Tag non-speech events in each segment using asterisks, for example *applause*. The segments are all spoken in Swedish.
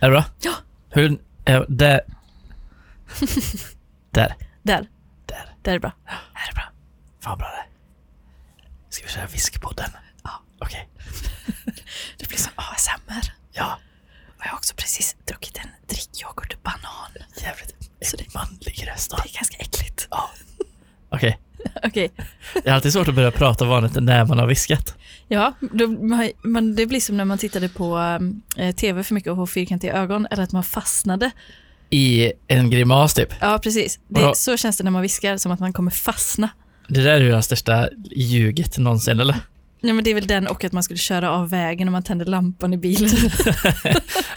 Är det bra? Ja. Hur... eh, Där. *laughs* där. Där. Där. Där är bra. Är det bra? Fan vad bra det är. Ska vi köra Whiskpodden? Ja. Okej. Det blir som ASMR. Ja. Och jag har också precis druckit en drickyoghurt och banan. Jävligt. Så En manlig röst. Det är ganska äckligt. Ja. Okej. Okej. Det är alltid svårt att börja prata vanligt när man har viskat. Ja, då, man, man, det blir som när man tittade på eh, tv för mycket och får fyrkantiga ögon, eller att man fastnade. I en grimas typ. Ja, precis. Ja. Det, så känns det när man viskar, som att man kommer fastna. Det där är ju det största ljuget någonsin, eller? Ja, men det är väl den och att man skulle köra av vägen om man tände lampan i bilen. *laughs*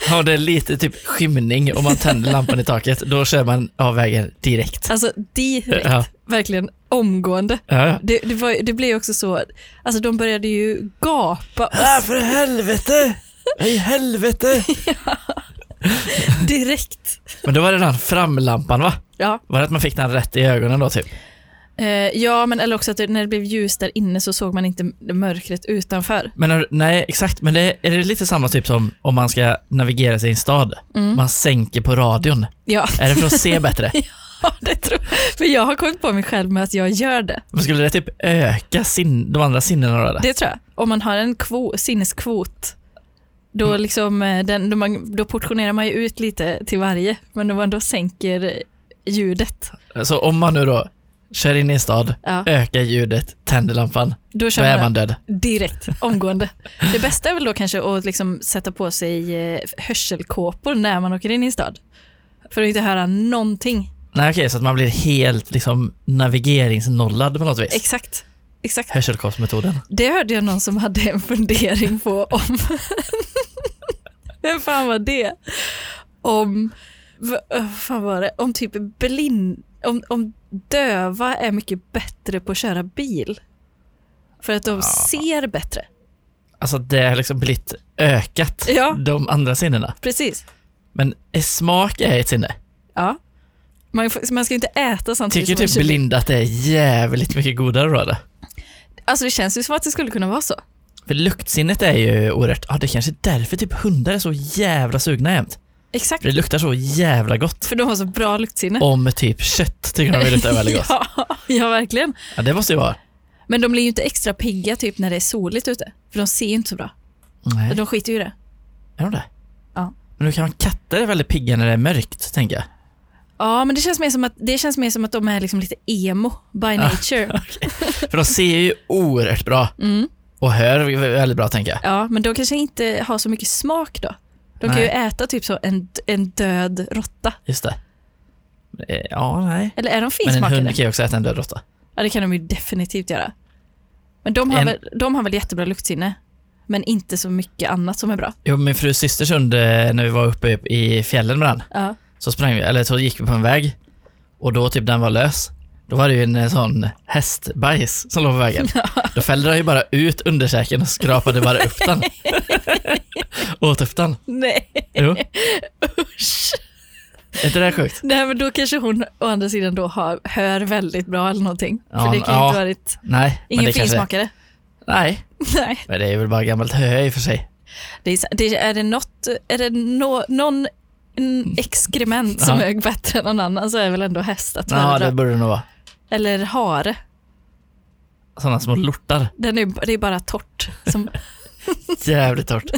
Ja, det är lite typ skymning om man tänder lampan i taket. Då kör man av vägen direkt. Alltså direkt, Ja. verkligen omgående. Ja, ja. Det, det, var, det blev ju också så, alltså de började ju gapa *laughs* Ah, för helvete! I helvete! direkt. Men då var det den här framlampan, va? Ja, Var det att man fick den rätt i ögonen då, typ? eh, ja men eller också att det, när det blev ljus där inne så såg man inte mörkret utanför. Men har- nej, exakt. Men det, är det lite samma typ som om man ska navigera sig i en stad? Mm. Man sänker på radion. Ja, Är det för att se bättre? *laughs* Ja, det tror jag. För jag har kommit på mig själv med att jag gör det. Men skulle det typ öka sin, de andra sinnena då? Det... Det tror jag. Om man har en kvo, sinneskvot, då, Mm. liksom, eh, den, då, man, då portionerar man ju ut lite till varje, men om man då sänker eh, ljudet, Så om man nu då kör in i en stad, ja, ökar ljudet, tänder lampan, då då kör är man, man död. direkt, omgående. Det bästa är väl då kanske att liksom sätta på sig eh, hörselkåpor när man åker in i en stad. För att inte höra någonting. Nej okej, så att man blir helt liksom navigeringsnollad på något vis. Exakt. Exakt. Hörselkortsmetoden. Det hörde jag någon som hade en fundering på om... *laughs* Vem fan var det? Om... v- Vad fan var det? Om typ blind... Om, om döva är mycket bättre på att köra bil. För att de ser bättre. Alltså det har liksom blivit ökat, Ja. de andra sinnena. Precis. Men smak är ett sinne. Ja. Man, får- man ska inte äta samtidigt Tycker som man typ kör bil. blinda att det är jävligt mycket godare då? eller? Alltså det känns ju som att det skulle kunna vara så. För luktsinnet är ju oerhört, ja det kanske är därför typ hundar är så jävla sugna jämt. Exakt. För det luktar så jävla gott. För de har så bra luktsinne. Om typ kött tycker de det luktar väldigt gott. *laughs* ja, ja, verkligen. Ja det måste ju vara. Men de blir ju inte extra pigga typ när det är soligt ute. För de ser ju inte så bra. Nej, De skiter ju i det. är de det? Ja. Men nu kan man katter är väldigt pigga när det är mörkt, tänker jag. Ja, men det känns mer som att, det känns mer som att de är liksom lite emo by Ah. *laughs* nature. För de ser ju oerhört bra Mm. och hör väldigt bra tänker jag. Ja, men de kanske inte har så mycket smak då. De kan Nej. ju äta typ så en, en död råtta. Just det. Eh, Ja, nej. Eller är de Men en finsmakade? hund kan ju också äta en död råtta. Ja, det kan de ju definitivt göra. Men de har, En- väl, de har väl jättebra luktsinne, men inte så mycket annat som är bra. Jo, min frus systers hund, eh, när vi var uppe i fjällen med den, Ja, så, sprang vi, eller så gick vi på en väg och då typ den var lös. Då var det ju en eh, sån hästbajs som låg på vägen. Då fällde den ju bara ut undersäken och skrapade bara upp den. Åt upp den. nej. *laughs* Jo. Är inte det här sjukt? Nej, men då kanske hon å andra sidan då har, hör väldigt bra eller någonting. Ja, För det kan ju ja. inte varit... Nej. men Ingen det kanske- finsmakare. *laughs* Nej, Nej. men det är väl bara gammalt hö i och för sig. Det är, det, är det, något, är det no, någon n- exkrement som Ja. är bättre än någon annan så är väl ändå häst att Ja, föredra. det borde det nog vara. Eller hare. Sådana små lortar. Den är, det är bara torrt. *laughs* Som, Jävligt torrt.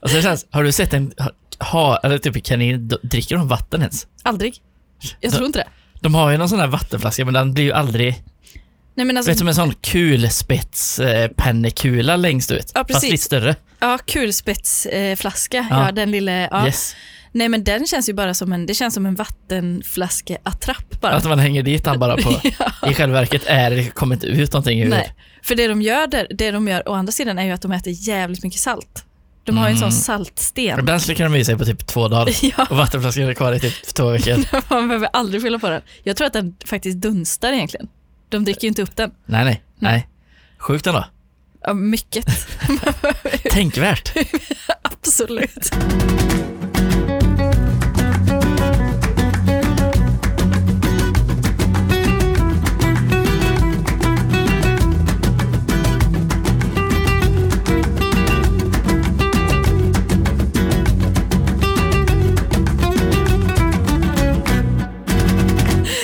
Alltså det känns, har du sett en ha, eller typ en kanin, d- dricker de vatten ens? aldrig. Jag tror inte det. De har ju någon sån här vattenflaska men den blir ju aldrig, Nej, men du vet alltså, som en sån kulspetspennekula längst ut. Ja, fast precis. lite större. ja, kulspetsflaska. Eh, flaska. Ja. ja. den lilla. Ja. Yes. Nej, men den känns ju bara som en, det känns som en vattenflaskeattrapp bara. Att man hänger dit han bara *laughs* på. I själva verket är det, kommer inte ut någonting ur. Nej, för det de gör där, det de gör å andra sidan är ju att de äter jävligt mycket salt. De har ju Mm. en sån Och saltsten. Den slickar de i sig på typ två dagar. *laughs* Ja. Och vattenflaskan är kvar i typ två veckor. *laughs* Man behöver aldrig fylla på den. Jag tror att den faktiskt dunstar egentligen. De dricker ju inte upp den. nej, nej, nej. Sjukt ändå. Ja, mycket. *laughs* Tänkvärt. Absolut.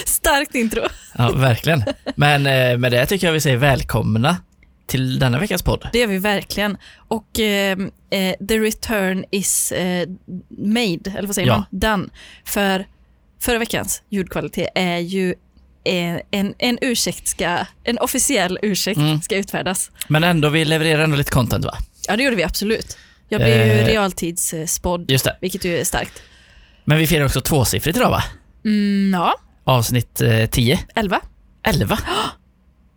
Starkt intro. Ja, verkligen. Men eh, med det tycker jag vi säger välkomna till denna veckas podd. Det gör vi verkligen. Och eh, eh, the return is eh, made, eller vad säger Ja. man? Done. För förra veckans ljudkvalitet är ju eh, en, en ursäkt ska, en officiell ursäkt Mm. ska utfärdas. Men ändå, vi levererar ändå lite content va? Ja, det gjorde vi absolut. Jag blev ju Eh. realtidsspådd, Just det. vilket ju är starkt. Men vi firar också tvåsiffrigt idag va? Mm, ja, Avsnitt eh, 10. 11. *gasps* 11?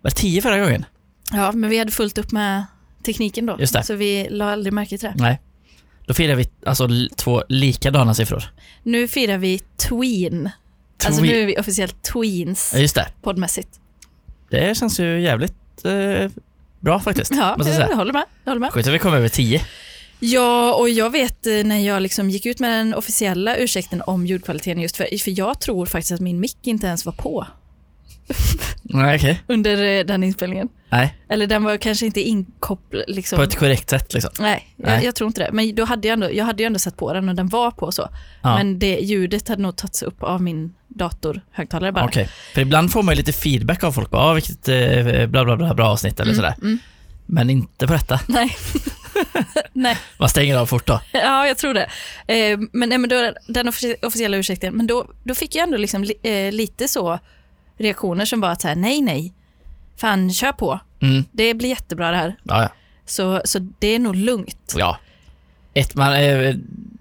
Var det 10 förra gången? Ja, men vi hade fullt upp med tekniken då, Just det. så vi la aldrig märke till det. Nej. Då firar vi alltså l- två likadana siffror. Nu firar vi tween. Alltså Twi- nu är vi officiellt tweens Ja, just det. poddmässigt. Det känns ju jävligt eh, bra faktiskt. *laughs* Ja, måste jag jag, säga. håller med. Jag håller med. Sjukt att vi kom över 10. Ja, och jag vet eh, när jag liksom gick ut med den officiella ursäkten om ljudkvaliteten just för, för jag tror faktiskt att min mick inte ens var på Nej, okej. under eh, den inspelningen. Nej, Eller den var kanske inte inkopplad. Liksom. på ett korrekt sätt liksom. Nej, Nej. Jag, jag tror inte det. Men då hade jag, ändå, jag hade ju ändå satt på den och den var på så. Ja. Men det ljudet hade nog tagits upp av min datorhögtalare bara. Okej. För ibland får man ju lite feedback av folk. Bara, ah, vilket eh, bla bla bla bra avsnitt eller sådär. mm. Men inte på detta. Nej. *laughs* Nej, Man stänger av fort då. ja jag tror det. Eh, men, nej, men då, den officie- officiella ursäkten, men då, då fick jag ändå liksom li, eh, lite så reaktioner som var att så här, nej, nej, fan kör på. Mm. Det blir jättebra det här. Ja, ja. Så, så det är nog lugnt. ja. Ett, man, eh,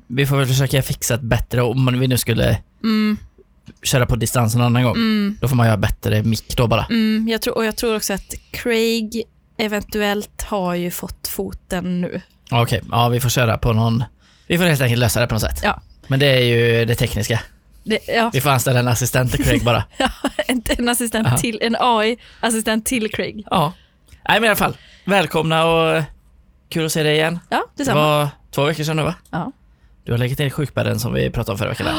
vi får väl försöka fixa ett bättre, om man- vi nu skulle Mm, köra på distans en annan gång, mm, då får man göra bättre mick då bara. mm. Jag tror, och jag tror också att Craig eventuellt har ju fått foten nu. Ja, Okej, ja vi får köra på någon, vi får helt enkelt lösa det på något sätt. Ja. Men det är ju det tekniska. Det, ja, *laughs* Vi får anställa en assistent till Craig bara. en, en assistent Aha. till, en AI-assistent till Craig. *laughs* ja. Nej men i alla fall, välkomna och eh, kul att se dig igen. Ja, Det detsamma. var två veckor sedan nu va? Ja. Du har legat ner i sjukbädden som vi pratade om förra veckan. där.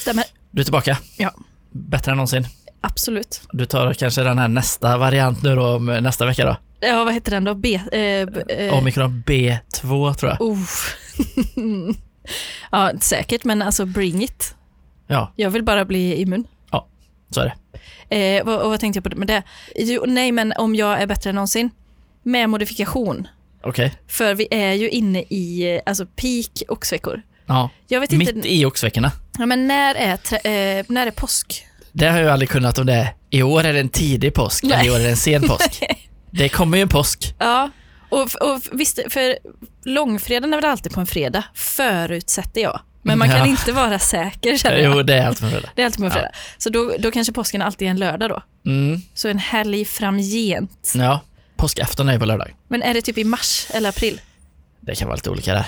Stämmer, Du är tillbaka. Ja. Bättre än någonsin. absolut. Du tar kanske den här nästa variant nu då om eh, nästa vecka då. Ja, vad heter den då? B... Eh, b- eh, Omikron B2 tror jag. oh. ja, säkert, men alltså bring it. Ja, Jag vill bara bli immun. så är det. Eh, vad, och vad tänkte jag på det- med det? Jo, nej, men om jag är bättre än någonsin. Med modifikation. Okej. För vi är ju inne i eh, alltså peak oxveckor. Ja. Jag vet Mitt inte, i oxveckorna. ja, men när är, trä- eh, när är påsk? Det har jag aldrig kunnat om det är. I år är det en tidig påsk, eller Nej. i år är det en sen påsk. Det kommer ju en *laughs* påsk. Ja, och, f- och f- visst, för långfredagen är väl alltid på en fredag, förutsätter jag. Men man kan Ja. inte vara säker känner jag. Jo, det är allt med fredag. Det är alltid på en fredag. Så då, då kanske påsken alltid är en lördag då. Mm, Så en helg framgent. ja. Påskafton är ju på lördag. Men är det typ i mars eller april? Det kan vara lite olika där.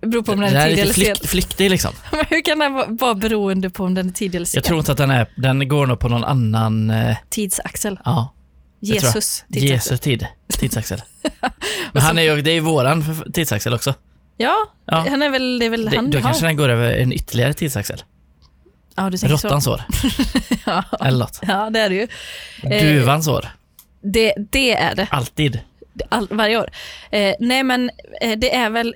Det beror på om Den den är är tidig lite eller sen. *laughs* flyk, flyktig liksom. Men Hur kan den vara- vara beroende på om den är tidig eller sen? Jag tror inte att den är, den går nog på någon annan, eh, Tidsaxel. ja, jag tror Jesus. Tidsaxel. Jesu tid, *laughs* tidsaxel. Men han är ju, det är ju våran f- tidsaxel också. Ja, Ja. han är väl, det är väl Det, han. då har. kanske den går över en ytterligare tidsaxel. Ja, du tänker så. Råttans år, *laughs* Ja. eller något. ja, det är det ju. Eh. Duvans år, Det, det är det, alltid. Det- all, varje år. Eh, nej, men eh, det är väl,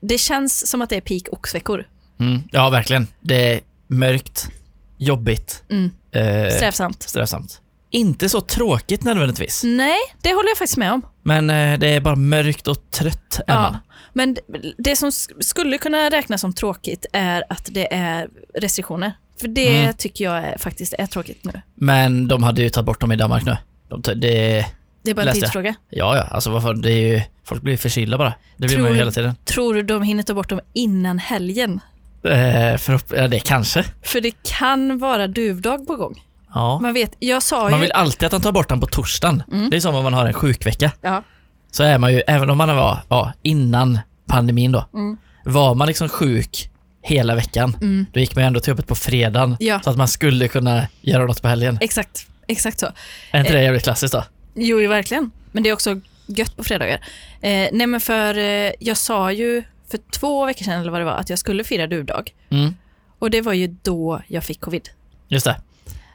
det känns som att det är peak oxveckor. Mm. Ja, verkligen. Det är mörkt, jobbigt, Mm. eh, Strävsamt. stressamt. Inte så tråkigt nödvändigtvis, Nej, det håller jag faktiskt med om. men eh, det är bara mörkt och trött är man. Ja, men d- det som sk- skulle kunna räknas som tråkigt är att det är restriktioner. För det Mm. tycker jag är, faktiskt är tråkigt nu. Men de hade ju tagit bort dem i Danmark nu. De, t- det, Det är bara en Läste jag. tidsfråga. ja, ja, alltså varför, det är ju, folk blir förkylda bara. Det blir Tror- man ju hela tiden. Tror du de hinner ta bort dem innan helgen? Eh, förhopp- ja, det kanske. För det kan vara duvdag på gång. Ja. Man vet, jag sa ju... Man vill alltid att de tar bort den på torsdagen. Mm. Det är som om man har en sjukvecka. ja, Så är man ju, även om man var ja, innan pandemin då, Mm. var man liksom sjuk hela veckan, då gick man ju ändå till jobbet på fredagen. Ja. Så att man skulle kunna göra något på helgen. exakt. Exakt så. Är inte det jävligt klassiskt då? Jo, ju verkligen. Men det är också gött på fredagar. Eh, nej, men för eh, jag sa ju för två veckor sedan eller vad det var att jag skulle fira duvdag. Mm. Och det var ju då jag fick covid. Just det,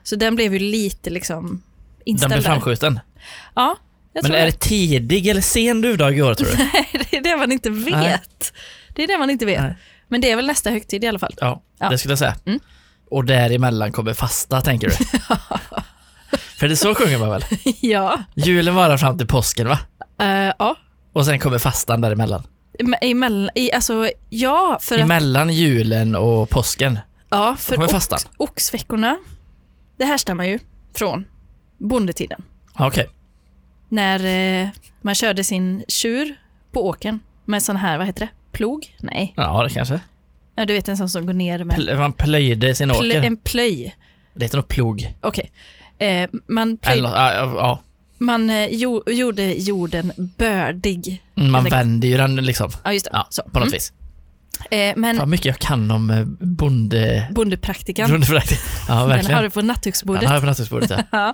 Så den blev ju lite liksom den inställd. blev där. framskjuten. Ja, jag Men tror är det tidig eller sen duvdag i år tror du? *laughs* det. det är det man inte vet. Nej. Det är det man inte vet. Nej. Men det är väl nästa högtid i alla fall. *laughs* Ja, Ja. det skulle jag säga. Mm. *laughs* Och däremellan kommer fasta tänker du? För det är så sjunger man väl? ja. Julen varar fram till påsken va? Eh, ja. Och sen kommer fastan däremellan. Em- Emellan, i, alltså, ja, för att, Emellan julen och påsken. ja, Då för kommer ox, fastan. oxveckorna, det härstammar ju från bondetiden. Ja, Okej. När eh, man körde sin tjur på åken med sån här, vad heter det, plog? Nej, Ja, det kanske. Ja, du vet en sån som går ner med Pl- man plöjde sin Plö- åker. en plöj. Det heter nog plog. Okej. Eh, man plöj, Eller, ja, ja, ja. man eh, jo, gjorde jorden bördig. Mm, Man Eller- vänder ju den liksom. Ja, just det. Ja, så. på något Mm. vis. Eh, men Fan mycket jag kan om eh, bonde... bondepraktikan, Bondeförakt. Ja, den har verkligen. du på nattduksbordet. Han har det på nattduksbordet. ja.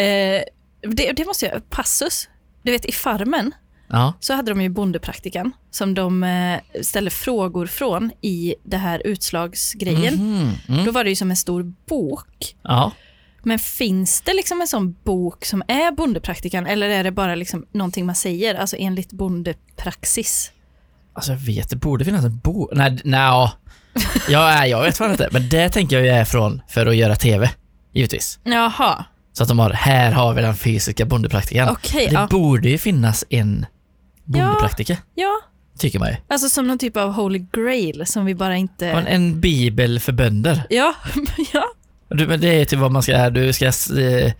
Eh, det, det måste jag, passus. Du vet i Farmen Ja, så hade de ju bondepraktikan som de eh, ställde frågor från i det här utslagsgrejen. Mhm, mm. Då var det ju som en stor bok. ja. Men finns det liksom en sån bok som är bondepraktikan eller är det bara liksom någonting man säger, alltså enligt bondepraxis? Alltså jag vet, det borde finnas en bo... Nej, nej. ja. Ja, nej, jag vet fan inte. Men det tänker jag ju är från för att göra TV. Givetvis. Jaha, Så att de har, här har vi den fysiska bondepraktiken. okej. Det ja. borde ju finnas en bondepraktiker, ja, tycker man ju. alltså som någon typ av holy grail som vi bara Och En, inte... en bibel för bönder. Ja, *laughs* ja. Du, men det är typ vad man ska, du ska eh,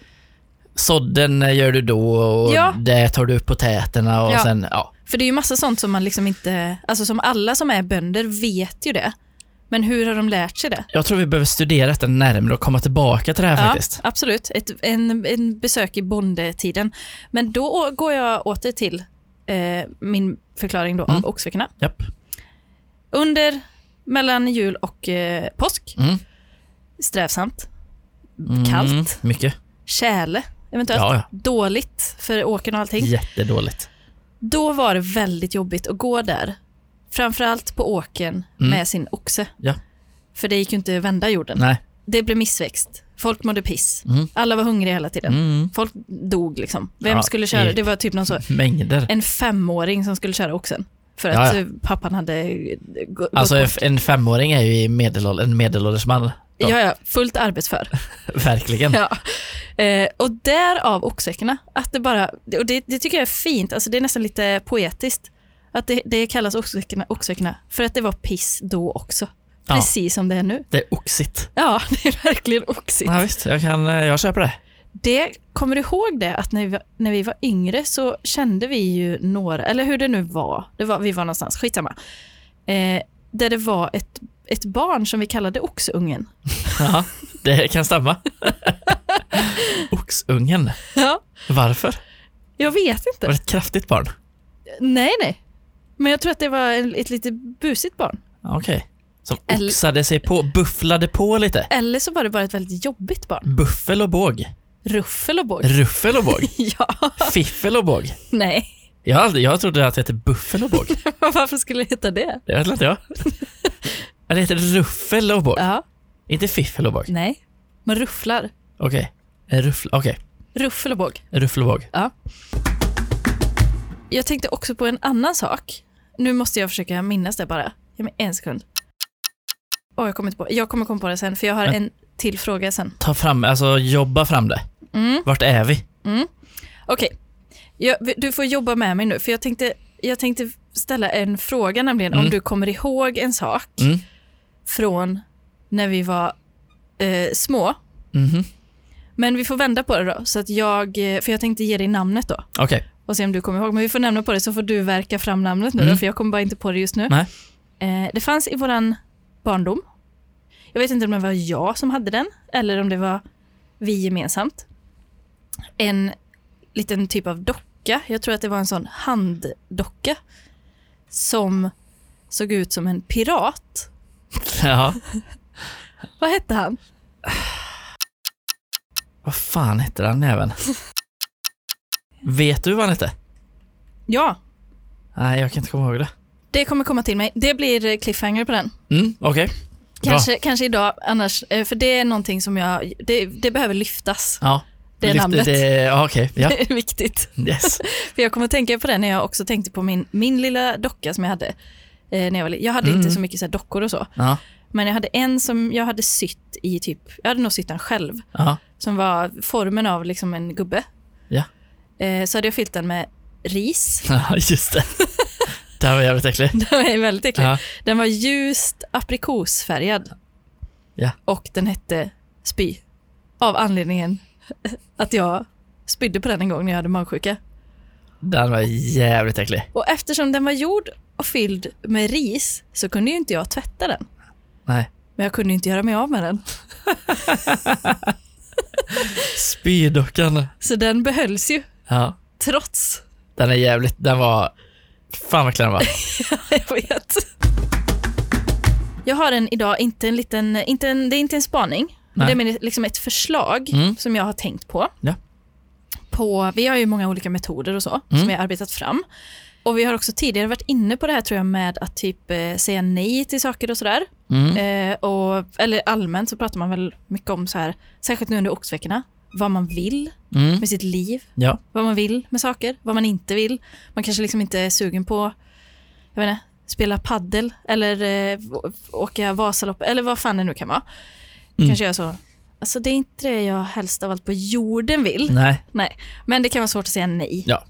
sådden eh, gör du då och Ja. där tar du upp potäterna och Ja. sen, ja. För det är ju massa sånt som man liksom inte, alltså som alla som är bönder vet ju det. Men hur har de lärt sig det? Jag tror vi behöver studera detta närmare och komma tillbaka till det här faktiskt. absolut. Ett, en, en besök i bondetiden. Men då å- går jag åter till eh, min förklaring då Mm. av oxveckorna. Japp. Under, mellan jul och eh, påsk, Mm. strävsamt, Mm, Kallt. Mycket. tjäle eventuellt, Ja, ja. dåligt för åkern och allting. Jättedåligt. Då var det väldigt jobbigt att gå där. Framförallt på åken Mm. med sin oxe. Ja. För det gick ju inte att vända jorden. Nej. Det blev missväxt. Folk mådde piss. Mm. Alla var hungriga hela tiden. Mm. Folk dog liksom. Vem Ja, skulle köra? typ. Det var typ någon så, Mängder. en femåring som skulle köra oxen. För Ja, att ja. eh, pappan hade eh, gå- gått Alltså bort. en- en femåring är ju i medelål- en medelålders man. då. Ja, ja, fullt arbetsför. Verkligen. *laughs* Ja. Eh, och därav oxveckorna. Att det bara, och det, det tycker jag är fint, alltså det är nästan lite poetiskt. Att det, det kallas oxveckorna, oxveckorna för att det var piss då också. Ja. Precis som det är nu. Det är oxigt. Ja, *laughs* det är verkligen oxigt. Ja, visst, jag, kan, eh, jag köper det. Det, kommer du ihåg det att när vi, var, när vi var yngre så kände vi ju några, eller hur det nu var, det var vi var någonstans, skitsamma. Eh, där det var ett, ett barn som vi kallade oxungen. Ja, det kan *laughs* stämma. Oxungen. Ja. Varför? Jag vet inte. Var det ett kraftigt barn? Nej, nej. Men jag tror att det var en- ett lite busigt barn. Ja, Okej. Som Eller- oxade sig på, bufflade på lite. Eller så var det bara ett väldigt jobbigt barn. Buffel och båg. Ruffel och båg. *laughs* Ruffel och båg. Ja, Fiffel och båg. nej. *laughs* Jag, har aldrig, jag trodde att det hette buffel och båg. Varför skulle jag heta det? Det vet *laughs* inte jag. Ja, Det heter ruffel och båg. Ja, Inte fiffel och båg. nej. Man rufflar. Okej. En Ruffel, okej. Ruffel och båg. En Ruffel och båg. Jag tänkte också på en annan sak. Nu måste jag försöka minnas det bara. Ge mig en sekund. Åh, jag kommer inte på. Jag kommer komma på det sen, för jag har Men- en till fråga sen. Ta fram, alltså jobba fram det. Mm. Vart är vi? Okej. Jag- Du får jobba med mig nu, för jag tänkte, jag tänkte ställa en fråga, nämligen om Mm. du kommer ihåg en sak Mm. från när vi var eh, små. Mhm. Men vi får vända på det då, så att jag, eh, för jag tänkte ge dig namnet då Okej. *laughs* och se om du kommer ihåg. Men vi får nämna på det så får du verka fram namnet nu Mm. då, för jag kommer bara inte på det just nu. Nej. Eh, det fanns i våran barndom. Jag vet inte om det var jag som hade den eller om det var vi gemensamt. En liten typ av docka. Jag tror att det var en sån handdocka som såg ut som en pirat. Ja. Vad hette han? Vad fan heter den även? Vet du vad han hette? Ja, Nej, jag kan inte komma ihåg det. det kommer komma till mig. Det blir eh, cliffhanger på den. Mm, okej. Bra. Kanske, kanske idag annars, eh, för det är någonting som jag, det, det behöver lyftas. Ja. Det är Lyfte- namnet. det- Ja, okej. Ja. Det är *laughs* viktigt. Yes. För jag kommer att tänka på det när jag också tänkte på min, min lilla docka som jag hade. Eh, när jag, var, li- jag hade Mm. inte så mycket så här dockor och så, Ja. men jag hade en som jag hade sytt i typ, jag hade nog sytt den själv. ja. som var formen av liksom en gubbe. Ja. Eh, så hade jag fyllt den med ris. *laughs* *laughs* Ja, just det. Det här var jävligt äckligt. Den var väldigt *laughs* äcklig. Ja. Den var ljust aprikosfärgad. Ja. Och den hette spy. Av anledningen *laughs* att jag spydde på den en gång när jag hade magsjuka. Den var jävligt äcklig. Och eftersom den var gjord och fylld med ris så kunde ju inte jag tvätta den. Nej. Men jag kunde ju inte göra mig av med den. Spydockan. Så den behölls ju Ja. trots. *laughs* Den är jävligt, den var... Fan vad äcklig den var. Jag vet. Jag har en idag, inte en liten, inte en, det är inte en spaning. Nej. Det är mer liksom ett förslag Mm. som jag har tänkt på. Ja. på. Vi har ju många olika metoder och så som Mm. vi har arbetat fram. Och vi har också tidigare varit inne på det här tror jag med att typ eh, säga nej till saker och sådär. *laughs* Mm. Eh, och, eller allmänt så pratar man väl mycket om så här, särskilt nu under oxveckorna, vad man vill Mm. med sitt liv Ja. vad man vill med saker, vad man inte vill. Man kanske liksom inte är sugen på jag vet inte, spela paddel eller eh, å- åka Vasalopp eller vad fan det nu kan vara. Mm. Kanske jag så. Alltså det är inte det jag helst av allt på jorden vill. Nej. Nej, men det kan vara svårt att säga nej. Ja.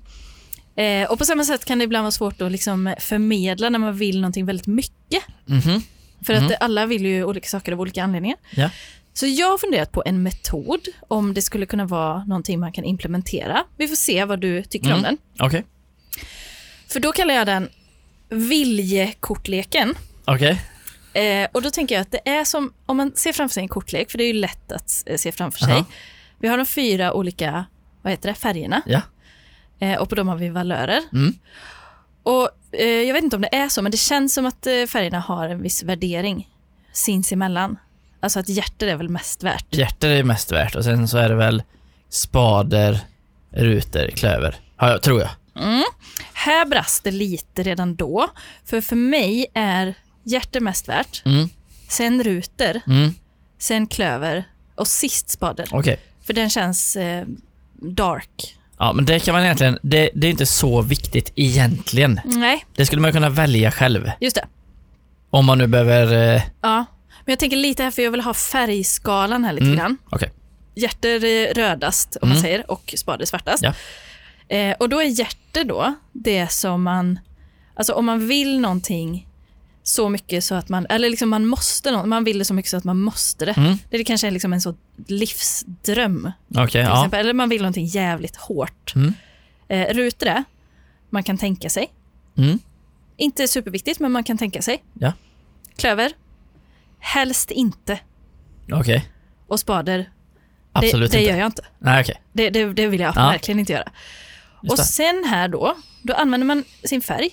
Eh, och på samma sätt kan det ibland vara svårt att liksom förmedla när man vill någonting väldigt mycket. Mhm. För att eh, alla vill ju olika saker av olika anledningar. Ja. Så jag har funderat på en metod, om det skulle kunna vara någonting man kan implementera. Vi får se vad du tycker om Mm. den. Okej. För då kallar jag den viljekortleken. Okej. Eh, och då tänker jag att det är som, om man ser framför sig en kortlek, för det är ju lätt att eh, se framför sig. Aha. Vi har de fyra olika, vad heter det, färgerna. Ja. Eh, och på dem har vi valörer. Mm. Och eh, jag vet inte om det är så, men det känns som att eh, färgerna har en viss värdering sinsemellan. Alltså att hjärtat är väl mest värt. Hjärter är mest värt och sen så är det väl spader, ruter, klöver. Har jag, tror jag. Här brast det lite redan då, för för mig är hjärtat mest värt, Mm. sen ruter, Mm. sen klöver och sist spader. Okej. För den känns eh, dark. Ja, men det kan man egentligen... Det, det är inte så viktigt egentligen. Nej, Det skulle man kunna välja själv. just det. Om man nu behöver... Eh, Ja. Men jag tänker lite här, för jag vill ha färgskalan här lite Mm. grann. Okej. Hjärter är rödast, om man Mm. säger, och spader svartast. Ja. Eh, och då är hjärter då det som man... Alltså om man vill någonting så mycket så att man... Eller liksom man måste nå- Man vill det så mycket så att man måste det. Mm. Det kanske är liksom en så livsdröm Okej, till ja. exempel. Eller man vill någonting jävligt hårt. Mm. Eh, ruter är, man kan tänka sig. Mm. Inte superviktigt, men man kan tänka sig. Ja. Klöver, helst inte. Okej. Och spader, Absolut det, det inte. gör jag inte. Nej, okej. Det, det, det vill jag Ja. verkligen inte göra. Just Och det. sen här då, då använder man sin färg.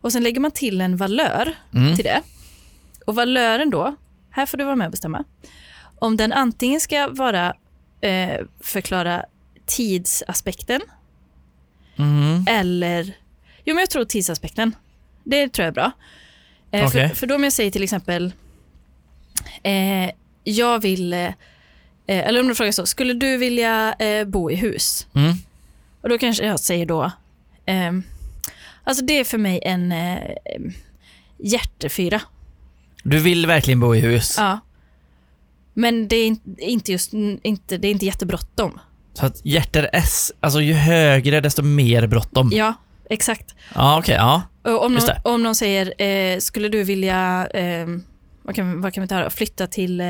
Och sen lägger man till en valör Mm. till det. Och valören då, här får du vara med och bestämma. Om den antingen ska vara eh, förklara tidsaspekten Mm. eller... Jo, men jag tror tidsaspekten. Det tror jag är bra. Eh, Okej. för, för då om jag säger till exempel, eh, jag vill... Eh, eller om du frågar så, skulle du vilja eh, bo i hus? Mm. Och då kanske jag säger då, ehm, alltså det är för mig en eh, em, hjärtefyra. Du vill verkligen bo i hus. Ja. Men det är in- inte, just, inte, det är inte jättebråttom. Så att hjärter S, alltså ju högre desto mer bråttom. Ja, Ja, exakt. okej. ja. Och om, någon, Just om någon säger, eh, skulle du vilja, ehm, vad, kan, vad kan vi ta då? flytta till eh,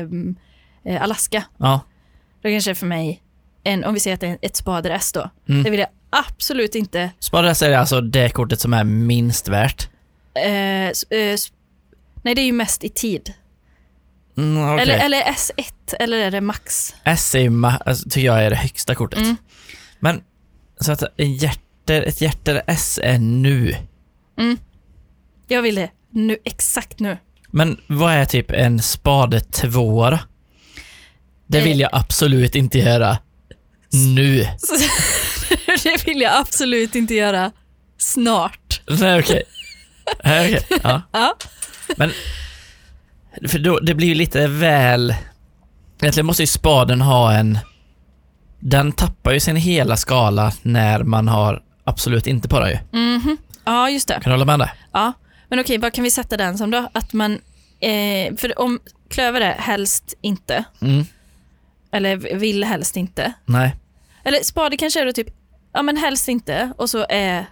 ehm, eh, Alaska? ja. Då kanske det är för mig, en, om vi säger att det är ett spader S då, Mm. det vill jag absolut inte Spader S är alltså det kortet som är minst värt. eh, s- eh, s- Nej, det är ju mest i tid. Mm, okej. Eller, eller S1, eller är det max? S är ju, ma- alltså, tycker jag är det högsta kortet. Mm. Men, så att en hjärter, ett hjärter S är nu. Jag vill det nu, exakt nu. *laughs* Men vad är typ en spade tvåa då? Eh. Det vill jag absolut inte göra. Nu. Så, det vill jag absolut inte göra snart. Nej, *laughs* okej. Nej, okej. Ja. Ja. Men, för då, det blir ju lite väl... Egentligen måste ju spaden ha en... Den tappar ju sin hela skala när man har absolut inte på den ju. Ja, just det. Kan du hålla med om det? Ja. Men okej, vad kan vi sätta den som då? Att man, eh, för om klöver är helst inte, Mm. Eller vill helst inte. Nej. Eller spade kanske är då typ, ja men helst inte och så är,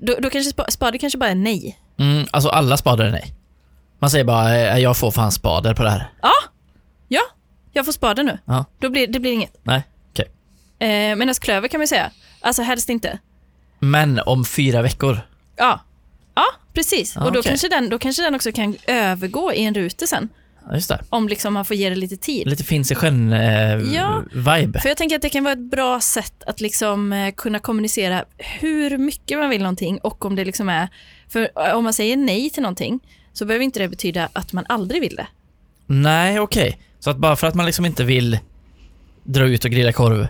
då, då kanske spa- spade kanske bara är nej. Mm, alltså alla spader är nej. Man säger bara, eh, jag får fan spader på det här. Ja, jag får spade nu. Ja. Då blir, det blir inget. Nej, okej. Eh, Medan klöver kan man ju säga, alltså helst inte. Men om fyra veckor. Ja, ja precis. Ja, och då, Ah, okej. kanske den, då kanske den också kan övergå i en rute sen. Ja, just det. Om liksom man får ge det lite tid. Lite finns i eh, sjön-vibe. Ja. För jag tänker att det kan vara ett bra sätt att liksom eh, kunna kommunicera hur mycket man vill någonting och om det liksom är, för eh, om man säger nej till någonting så behöver inte det betyda att man aldrig vill det. Nej, okej. Så att bara för att man liksom inte vill dra ut och grilla korv På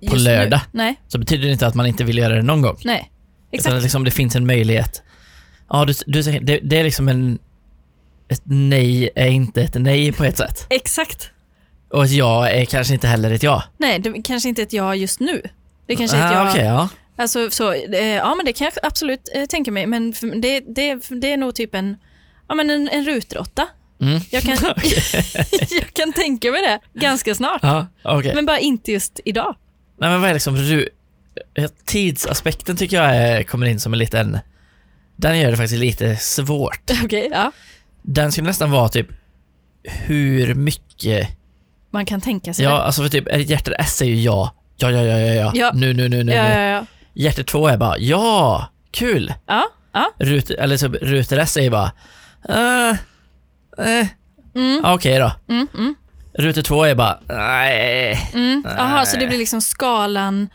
Just nu. lördag. Nej, så betyder det inte att man inte vill göra det någon gång. nej. Utan att Exakt. liksom det finns en möjlighet. Ja, du, du, säger- det, det är liksom en... Ett nej är inte ett nej på ett sätt. Exakt. Och ett ja är kanske inte heller ett ja. Nej, det kanske inte är ett ja just nu. Det kanske är ett Ah, ja. okej, ja. Alltså, så, eh, ja, men det kan jag absolut eh, tänka mig. Men för- det, det, det är nog typ en, ja, men en, en rutråtta. Mm. Jag kan, *laughs* *laughs* jag kan tänka mig det ganska snart. Ja, okej. Men bara inte just *laughs* idag. Nej men vad är liksom ru- ja, Tidsaspekten tycker jag är, kommer in som en liten... Den gör det faktiskt lite svårt. Okej, ja. Den skulle nästan vara typ hur mycket... Man kan tänka sig Ja, alltså för typ ett hjärta S är ju ja. Ja, ja, ja, ja, ja. Ja. Nu, nu, nu, nu. det. Ja, nu. ja, ja. Hjärta 2 är bara ja, kul. ja, ja. Rut, eller typ ruter S är ju bara eh, eh, Mm, ja, okej då. mm, mm, Ruter 2 är bara nej. mm. Aha, så det blir liksom skalan,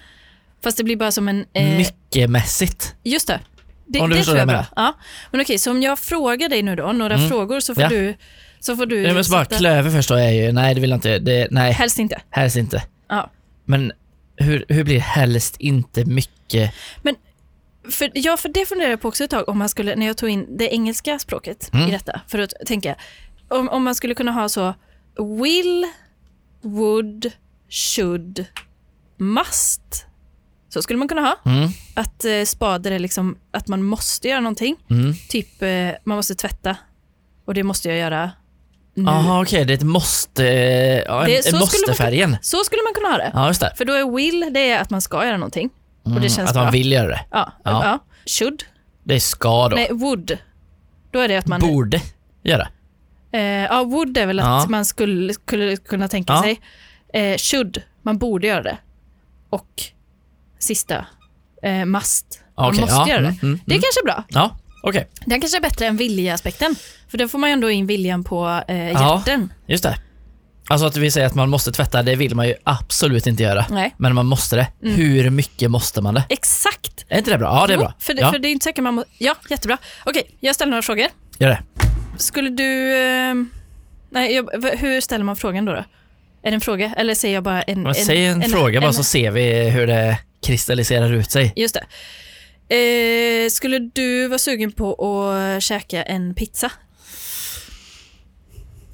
fast det blir bara som en... eh, Mycket mässigt. Just det. det Om du det förstår tror vad jag är bra. Ja. Men okej, så om jag frågar dig nu då, några Mm. frågor, så får Ja. du... Så får du Nej, men så bara sätta- klöver först då är ju, nej det vill jag inte, det, nej. Helst inte. Helst inte. Ja. Men hur, hur blir helst inte mycket? För, ja, för det funderade jag på också ett tag, om man skulle, när jag tog in det engelska språket Mm. i detta, för att tänka, om, om man skulle kunna ha så will, would, should, must. Så skulle man kunna ha. Mm, Att eh, spader är liksom att man måste göra någonting. mm. Typ, eh, man måste tvätta och det måste jag göra nu. Aha, okej, det är ett måste, ja, en, Det- så en skulle man kunna- måste-färgen. Så skulle man kunna ha det. Ja, just det. För då är will, det är att man ska göra någonting. Mm, Och det känns att man bra. vill göra det. Ja. Ja. ja. Should, Det är ska då. nej would. Då är det att man... Borde göra. Eh, ja, would är väl att Ja. man skulle, skulle kunna tänka Ja. sig. Eh, should, man borde göra det. Och sista, eh, must. Man Okej, måste ja, göra det. mm, mm, det är mm. kanske är bra. Ja, okej. Den kanske är bättre än viljeaspekten. För då får man ju ändå in viljan på eh, Ja. hjärten. Just det. Alltså att vi säger att man måste tvätta, det vill man ju absolut inte göra. Nej. Men man måste det. Hur mycket måste man det? Exakt. Är inte det bra? Ja, det är Jo, bra. För det, ja, för det är inte säkert man må- Ja, jättebra. Okej, jag ställer några frågor. Gör det. Skulle du... Eh, nej, jag, v- hur ställer man frågan då? då? Är det en fråga? Eller säger jag bara en... Men säg en, fråga bara en- så ser vi hur det kristalliserar ut sig. Just det. Eh, skulle du vara sugen på att käka en pizza?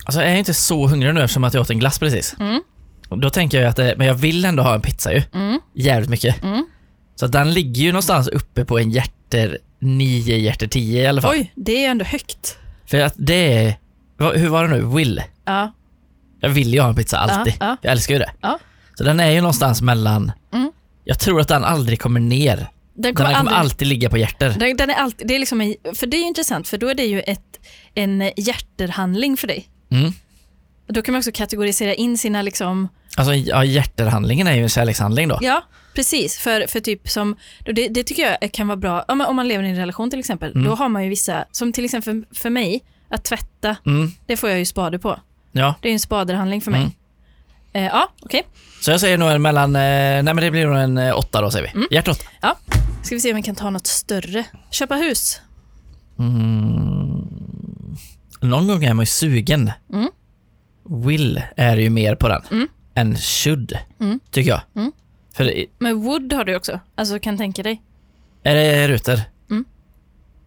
Alltså jag är inte så hungrig nu eftersom att jag åt en glass precis. Mm. Då tänker jag ju att det, men jag vill ändå ha en pizza ju. Mm. Jävligt mycket. Mm. Så att den ligger ju någonstans uppe på en hjärter 9, hjärter 10 i alla fall. Oj, det är ändå högt. För att det är, vad- hur var det nu, will? Ja, Jag vill ju ha en pizza alltid. Ja, ja. Jag älskar ju det. Ja. Så den är ju någonstans mellan... Mm. Jag tror att den aldrig kommer ner. den Den kommer här kommer aldrig... alltid ligga på hjärter. Den, den är alltid, det är liksom en, för det är ju intressant, för då är det ju ett, en hjärterhandling för dig. Mm. Då kan man också kategorisera in sina, liksom, Alltså ja, hjärterhandlingen är ju en kärlekshandling då. ja precis, för, för typ som, då det, det tycker jag kan vara bra, ja, men om man lever i en relation till exempel, då har man ju vissa, som till exempel för, för mig, att tvätta, Mm. det får jag ju spade på. ja. Det är ju en spaderhandling för mig. Mm. Eh, ja, okej. Så jag säger nog en mellan... eh, Nej men det blir nog en eh, åtta då säger Mm. vi. Hjärta åtta. Ja. Ska vi se om vi kan ta något större. Köpa hus. Någon gång är man ju sugen. Mm. Will är ju mer på den. Mm. Än should. Mm. Tycker jag. Mm. För det- Men wood har du också. Alltså kan tänka dig. är det ruter? Mm.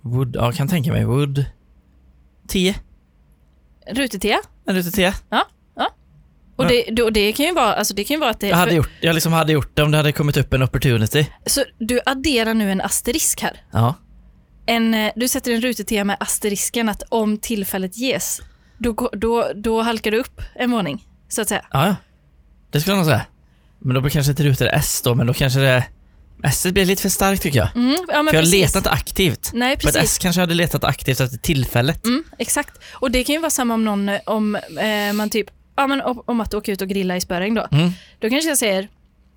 Wood, ja kan tänka mig. Wood. 10. Rutetea. En ruter 10. Och Ja. det, då- det kan ju vara, alltså det kan ju vara att det... Jag hade gjort, jag liksom hade gjort det om det hade kommit upp en opportunity. Så du adderar nu en asterisk här. Ja. En, eh, du sätter en rutetea med asterisken att om tillfället ges, då, går- då, då halkar du upp en våning. Så att säga. Ja, ja. Det skulle jag nog säga. Men då kanske inte rutor är S då, men då kanske det... S blir lite för starkt tycker jag. Mm, ja, men För jag har precis. letat aktivt. Nej, På ett precis. S kanske jag hade letat aktivt efter tillfället. Mm, exakt. Och det kan ju vara samma om någon, eh, om eh, man typ, ja men om, om att åka ut och grilla i Spöräng då. Mm. Då kanske jag säger,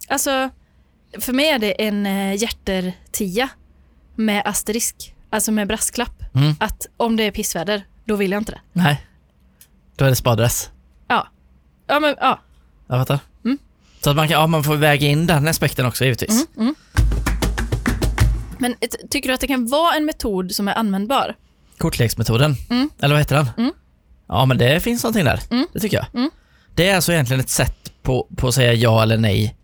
alltså för mig är det en eh, hjärter-tia med asterisk, alltså med brasklapp. Mm. Att om det är pissväder, då vill jag inte det. Nej. Då är det spadress. Ja, ja men ja. Jag fattar. Mm. Så att man, kan, ja, man får väga in den aspekten också givetvis. Mm, mm. Men ett- tycker du att det kan vara en metod som är användbar? Kortleksmetoden. Mm. Eller vad heter den? Mm. Ja, men det finns någonting där. Mm. Det tycker jag. Mm. Det är alltså egentligen ett sätt på, på att säga ja eller nej.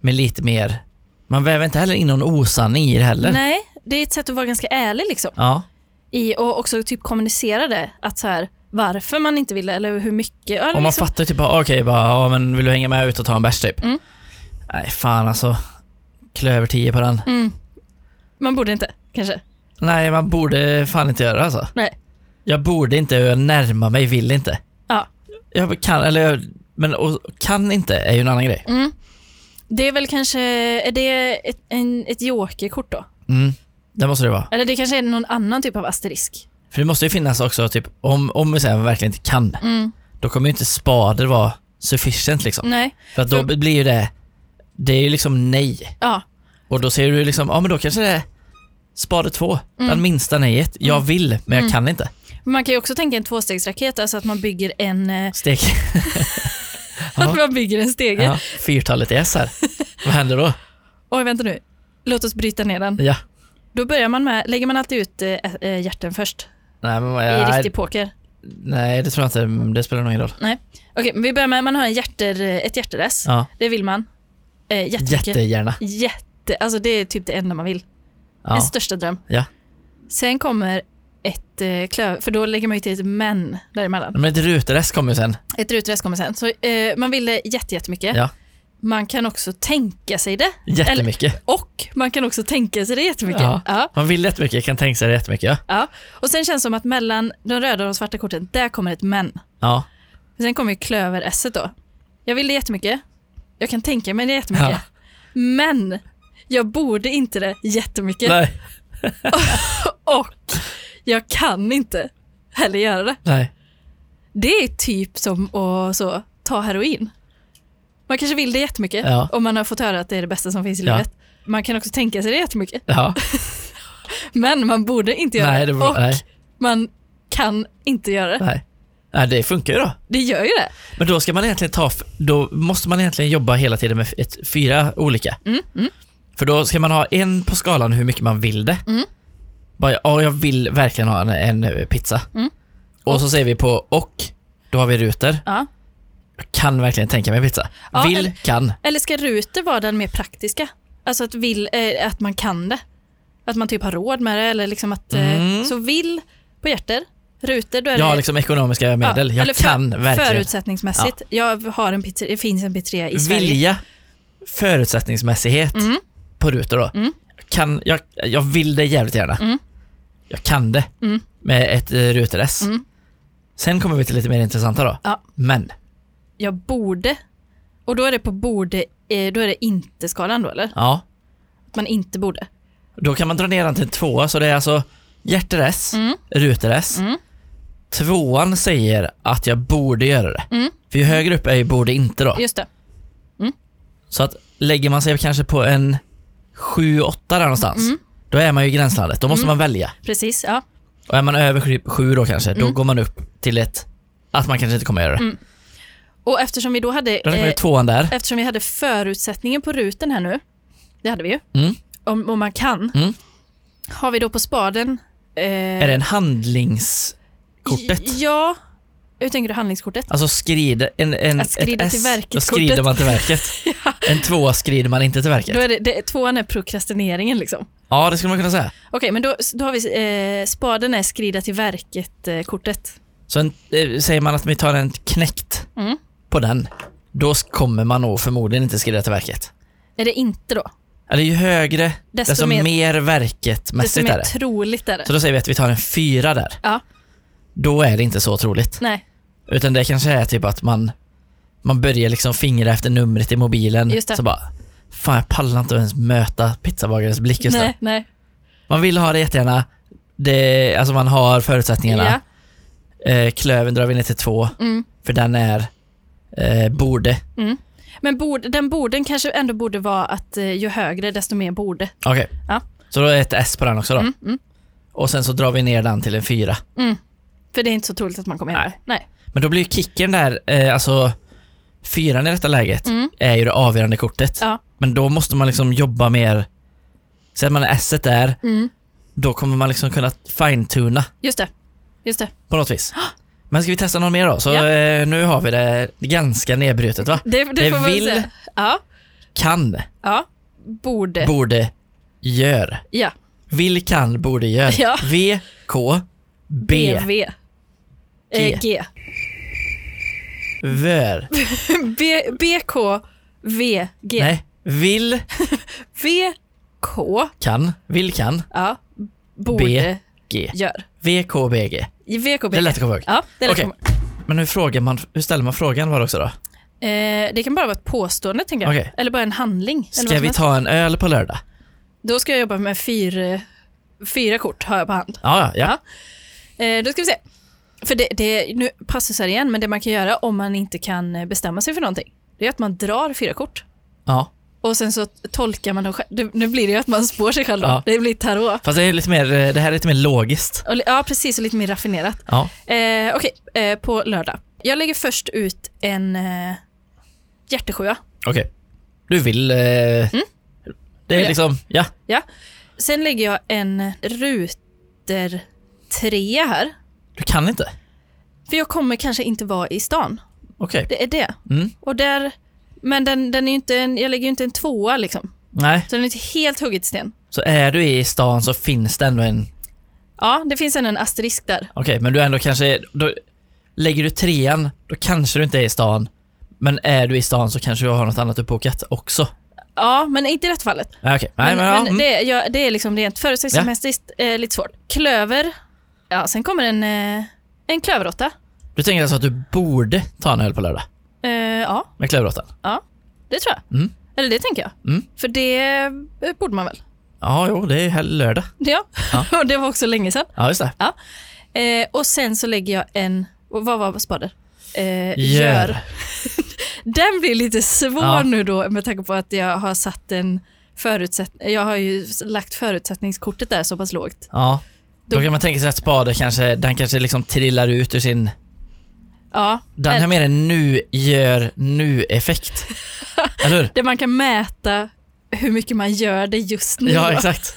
Men lite mer... Man väver inte heller in någon osanning i det heller. Nej, det är ett sätt att vara ganska ärlig liksom. Ja. I, och också typ kommunicera det, att så här, varför man inte ville eller hur mycket. Ja, Om man liksom, fattar ju typ bara, okej, bara, ja, men vill du hänga med ut och ta en bärs typ? Mm. Nej, fan alltså. Klöver 10 på den. mm, man borde inte, kanske. Nej, man borde fan inte göra det alltså. Nej. Jag borde inte, jag närmar mig, vill inte. Ja. Jag kan, eller jag, men och, kan inte är ju en annan grej. Mm. Det är väl kanske, är det ett, en, ett jokerkort då? Mm. Det måste det vara. Eller det kanske är någon annan typ av asterisk? För det måste ju finnas också, typ, om, om vi säger att man verkligen inte kan, Mm. då kommer ju inte spader vara sufficient liksom. Nej, För att då För- blir ju det, det är ju liksom nej. ja. Och då ser du liksom, ja men då kanske det är spade två, Mm. den minsta nejet. Jag vill, men jag kan inte. Man kan ju också tänka en tvåstegsraket, alltså att man bygger en, eh, *laughs* Stek, Ja. att man bygger en stege. ja, fyrtalet i S här. Vad händer då? Oj, vänta nu. Låt oss bryta ner den. Ja. Då börjar man med, lägger man alltid ut eh, eh, hjärten först Nej, men, i nej, riktig poker? nej, det tror jag inte. Mm, Det spelar nog ingen roll. Nej. Okej, men vi börjar med, man har en hjärter, ett hjärter-S. Ja. Det vill man. Eh, jättemycket. Jättegärna. Jätte, alltså det är typ det enda man vill. Ja. Ens största dröm. Ja. Sen kommer ett eh, klöv, för då lägger man ju till ett men däremellan. Men ett ruter-S kommer ju sen. Ett ruter-S kommer sen. Så eh, man vill det jätte, jättemycket. Ja. Man kan också tänka sig det. Jättemycket. Och man kan också tänka sig det jättemycket. Ja. Ja. Man vill jättemycket, kan tänka sig det jättemycket. Ja. Ja, och sen känns det som att mellan de röda och de svarta korten, där kommer ett men. ja. Sen kommer ju klöver-s då. Jag vill det jättemycket. Jag kan tänka mig det jättemycket. Ja. Men jag borde inte det jättemycket. Nej. Och jag kan inte heller göra det. Nej. Det är typ som att så, ta heroin. Man kanske vill det jättemycket Ja. och man har fått höra att det är det bästa som finns i Ja. livet. Man kan också tänka sig det jättemycket. Ja. Men man borde inte göra Nej, det det. Och var, nej. man kan inte göra det. Nej. Nej, det funkar ju då. Det gör ju det. Men då ska man egentligen ta, f- då måste man egentligen jobba hela tiden med ett, fyra olika. Mm, mm. För då ska man ha en på skalan hur mycket man vill det. Mm. Bara, ja, jag vill verkligen ha en, en pizza. Mm. Och så säger vi på och, då har vi ruter. Ja. Jag kan verkligen tänka mig pizza. Ja, vill, eller- kan. Eller ska ruter vara den mer praktiska? Alltså att, vill, eh, att man kan det. Att man typ har råd med det. Eller liksom att, eh, Mm. Så vill på hjärter, ruter då är Jag har det... liksom ekonomiska ja, medel. eller jag kan verkligen. Förutsättningsmässigt. Jag har en pizzeria, det finns en pizzeria i Sverige. Vilja, förutsättningsmässighet Mm. på ruter då. Mm. Jag, kan, jag, jag vill det jävligt gärna. Mm. Jag kan det Mm. med ett eh, ruter S. Mm. Sen kommer vi till lite mer intressanta då. Ja. Men, Jag borde. Och då är det på borde, eh, då är det inte-skalan då eller? ja. Att man inte borde. Då kan man dra ner den till en tvåa, så det är alltså hjärter S, Mm. ruter S. Mm. Tvåan säger att jag borde göra det. Mm. För ju högre upp är ju borde inte då. Just det. Så att lägger man sig kanske på en 7-8 där någonstans, Mm. då är man ju i gränslandet. Då måste man välja. Precis, ja. Och är man över 7 då kanske, Mm. då går man upp till ett att man kanske inte kommer göra det. Och eftersom vi då Då hade... lägger man Mm. eh, ju tvåan där. eftersom vi hade förutsättningen på ruten här nu, det hade vi ju, Mm. om, om man kan, Mm. har vi då på spaden... eh, Är det en handlingskortet? Ja, hur tänker du handlingskortet? Alltså skrider, en, en, Att skrida ett till S, verket, då skrider kortet. man till *laughs* verket. En tvåa skrider man inte till verket. Då är det, det, tvåan är prokrastineringen liksom. Ja, det skulle man kunna säga. Okej, men då, då har vi eh, spaden är skrida till eh, verket-kortet. Så en, eh, säger man att vi tar en knäckt Mm. på den, då s- kommer man nog förmodligen inte skrida till verket. är det inte då? Eller ju högre, Desto desto, mer- mer, verket-mässigt Desto är mer det. troligt är det. Så då säger vi att vi tar en fyra där. Ja. Då är det inte så troligt. Nej, Utan det kanske är typ att man man börjar liksom fingra efter numret i mobilen. Just det. Så bara, fan jag pallar inte ens möta pizzabagarens blick just nu. nej, nej. Man vill ha det jättegärna. Det, alltså man har förutsättningarna. Ja. Eh, klöven drar vi ner till två, Mm. för den är eh, borde. Men borde, den borden kanske ändå borde vara att eh, ju högre desto mer borde. Okej. Ja. Så då är det ett S på den också då. Mm, mm, Och sen så drar vi ner den till en fyra. mm. För det är inte så troligt att man kommer hem. Nej. Nej. Men då blir ju kicken där, eh, alltså fyran i detta läget Mm. är ju det avgörande kortet. Ja. Men då måste man liksom jobba mer. Sen man S där, Mm. då kommer man liksom kunna fine-tuna Just det. Just det. på något vis. Men ska vi testa någon mer då? Så Ja. eh, nu har vi det ganska nedbrutet va? Det, det, Det får man vill- säga. Ja. Kan, ja. Borde. borde, gör. ja. Vill, kan, borde, gör. Ja. V, K, B, BV. Eh, G. vör. B, BK. V. G. Nej, vill, V. K. kan, vill, kan, Ja. Borde. G. Gör. V, K, B, G. I VKB. Det är lätt att komma ihåg. Ja, det är lätt Okej. att komma. Men hur, frågar man, hur ställer man frågan var också då? Eh, det kan bara vara ett påstående tänker jag. Okej. Eller bara en handling. eller vad Ska som vi helst. ta en öl på lördag? Då ska jag jobba med fyra, fyra kort har jag på hand. Ja, ja. ja. Ja. Eh, då ska vi se. För det, det, nu passar här igen, men det man kan göra om man inte kan eh, bestämma sig för någonting, det är att man drar fyra kort. ja. Och sen så tolkar man dem själv. Det- Nu blir det ju att man spår sig själv då. Ja. Det blir tarot. Fast det, är lite mer, eh, det här är lite mer logiskt. Och, li- ja, precis. Och lite mer raffinerat. Ja. Eh, Okej, eh, på lördag. Jag lägger först ut en eh, hjärtesjua. Okej. Du vill... Eh, Det är Mm. jag? liksom, ja. Sen lägger jag en ruter trea här. Du kan inte. För jag kommer kanske inte vara i stan. Okej. Det är det. Mm. Och där, men den, den är ju inte en, jag lägger ju inte en tvåa liksom. Nej, Så den är inte helt hugget i sten. så är du i stan så finns det ändå en... Okej, Ja, det finns ändå en asterisk där. men du är ändå kanske... Då, lägger du trean, då kanske du inte är i stan. Men är du i stan så kanske du har något annat uppbokat också. Ja, men inte i detta fallet. Nej, Okej. Nej, men, ja, men mm. det, ja, det är liksom rent förutsägelsesmässigt eh, lite svårt. Klöver. Ja, sen kommer en, eh, en klöveråtta. Du tänker alltså att du borde ta en öl på lördag Eh, ja, med klövråttan? det tror jag. Mm. Eller det tänker jag. Mm. För det eh, borde man väl? Ja, jo, det är här lördag. Ja, Ja. *laughs* och det var också länge sedan. Ja, just det. Eh, och sen så lägger jag en, och vad var spader? Eh, Den blir lite svår Ja. nu då med tanke på att jag har satt en förutsättning. Jag har ju lagt förutsättningskortet där så pass lågt. Ja. Då Då- kan man tänka sig att spade kanske, den kanske liksom trillar ut ur sin... Ja, Den har mer en nu gör *laughs* nu-effekt. Eller hur? där man kan mäta hur mycket man gör det just nu. Ja, exakt.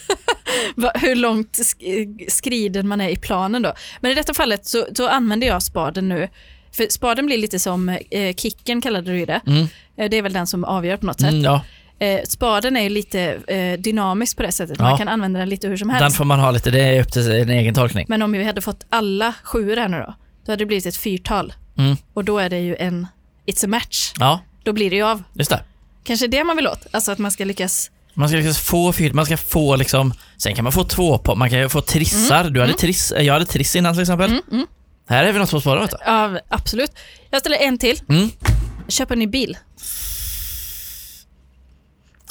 Va- Hur långt sk- skriden man är i planen då. Men i detta fallet så, så använder jag spaden nu. För spaden blir lite som eh, kicken kallade du ju det. Mm. Eh, det är väl den som avgör på något sätt. Mm, ja. Eh, spaden är ju lite eh, dynamisk på det sättet. Ja. Man kan använda den lite hur som helst. Den får man ha lite, det är upp till sin egen tolkning. Men om vi hade fått alla sjuor här nu då, då hade det blivit ett fyrtal. Mm. Och då är det ju en it's a match. Ja, Då blir det ju av. just det. Kanske det man vill åt, alltså att man ska lyckas. Man ska liksom få fyr, man ska få liksom, sen kan man få två på, man kan ju få trissar. Mm, Du hade triss, jag hade triss innan till exempel. Här är vi något på spåren vet du. Ja, absolut. Jag ställer en till. Mm. Köpa en ny bil.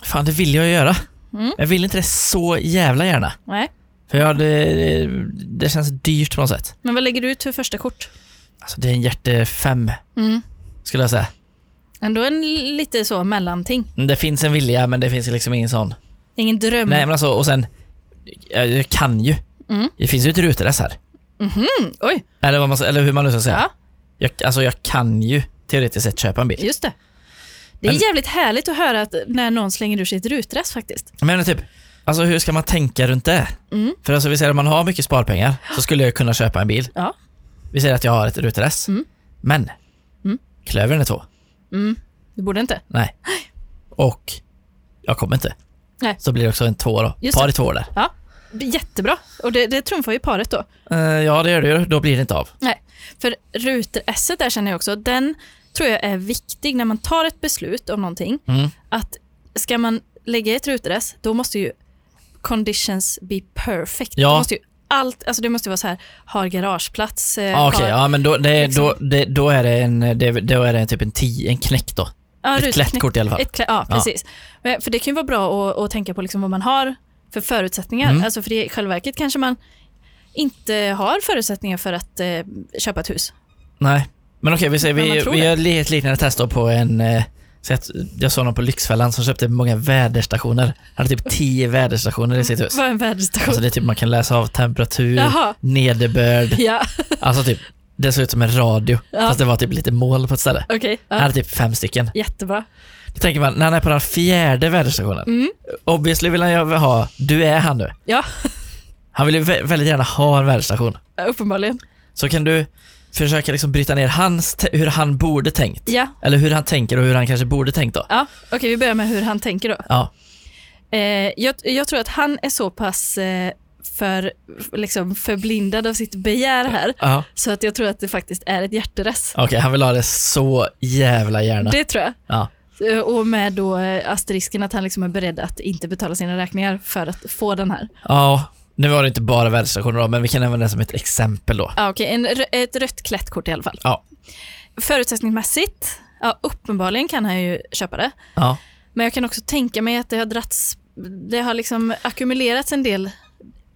Fan, det vill jag ju göra. Mm. Jag vill inte det så jävla gärna. Nej. För jag det, det känns dyrt på något sätt. Men vad lägger du ut för första kort? Alltså det är en hjärte fem, Mm. skulle jag säga. Ändå en l- lite så mellanting. Det finns en vilja, men det finns liksom ingen sån. Ingen dröm. Nej, men alltså, och sen, jag, jag kan ju. Mm. Det finns ju ett rutress här. Oj, Eller, vad man, eller hur man nu ska säga. Ja. Jag, alltså jag kan ju teoretiskt sett köpa en bil. just det. Det är Men- jävligt härligt att höra att när någon slänger ur sig ett rutrest faktiskt. Men typ, alltså hur ska man tänka runt det? Mm. För alltså vi säger att man har mycket sparpengar så skulle jag kunna köpa en bil. Ja. Vi säger att jag har ett rutress. Mm. Men, Mm. klövern är två. Du borde inte. Nej. Och jag kommer inte. Nej. Så blir det också en två då. Just Par det. i två där. Ja, jättebra. Och det, det trumfar ju paret då. Eh, ja, det gör det ju. Då blir det inte av. Nej, för ruter-s där känner jag också, den tror jag är viktig när man tar ett beslut om någonting. Mm. Att ska man lägga ett ruter-s, då måste ju conditions be perfect. Ja. Då måste ju allt, alltså det måste vara så här, har garageplats, eh, Ah, Okej, har, ja men då, det, liksom. då, det, då är det en, det, då är det en typ en, ti, en knäck då. ja, Ett rutknä- klättkort i alla fall. Ett klä, ja, Ja. precis. Men, för det kan ju vara bra att, att tänka på liksom vad man har för förutsättningar. Mm. Alltså för det, i själva verket kanske man inte har förutsättningar för att eh, köpa ett hus. Nej, men okej vi säger, Men man vi, tror vi det. gör li- ett liknande test då på en eh, så att jag såg någon på Lyxfällan som köpte många väderstationer. Han hade typ 10 väderstationer i sitt hus. *laughs* Vad är en väderstation? Alltså det är typ man kan läsa av temperatur, Jaha, *laughs* nederbörd, ja, alltså typ det såg ut som en radio Ja. fast det var typ lite mål på ett ställe. okej. Han Ja. hade typ fem stycken. Jättebra. Då tänker man, när han är på den fjärde väderstationen, Mm. obviously vill han ju ha, du är han nu. Ja, Han vill ju vä- väldigt gärna ha en väderstation. Eh, uppenbarligen. Så kan du försöka liksom bryta ner hans, te- hur han borde tänkt. Ja, Eller hur han tänker och hur han kanske borde tänkt då. ja. okej vi börjar med hur han tänker då. Ja, Eh, jag, jag tror att han är så pass eh, för, liksom förblindad av sitt begär här, ja. så att jag tror att det faktiskt är ett hjärteress. okej han vill ha det så jävla gärna. Det tror jag. Ja. Eh, Och med då eh, asterisken att han liksom är beredd att inte betala sina räkningar för att få den här. ja, nu var det inte bara väderstationer då, men vi kan använda det som ett exempel då. Ah, okay. en, rö- ett rött klättkort i alla fall. Ja. Förutsättningsmässigt, ja, uppenbarligen kan han ju köpa det. Ja, Men jag kan också tänka mig att det har dratts, det har liksom ackumulerats en del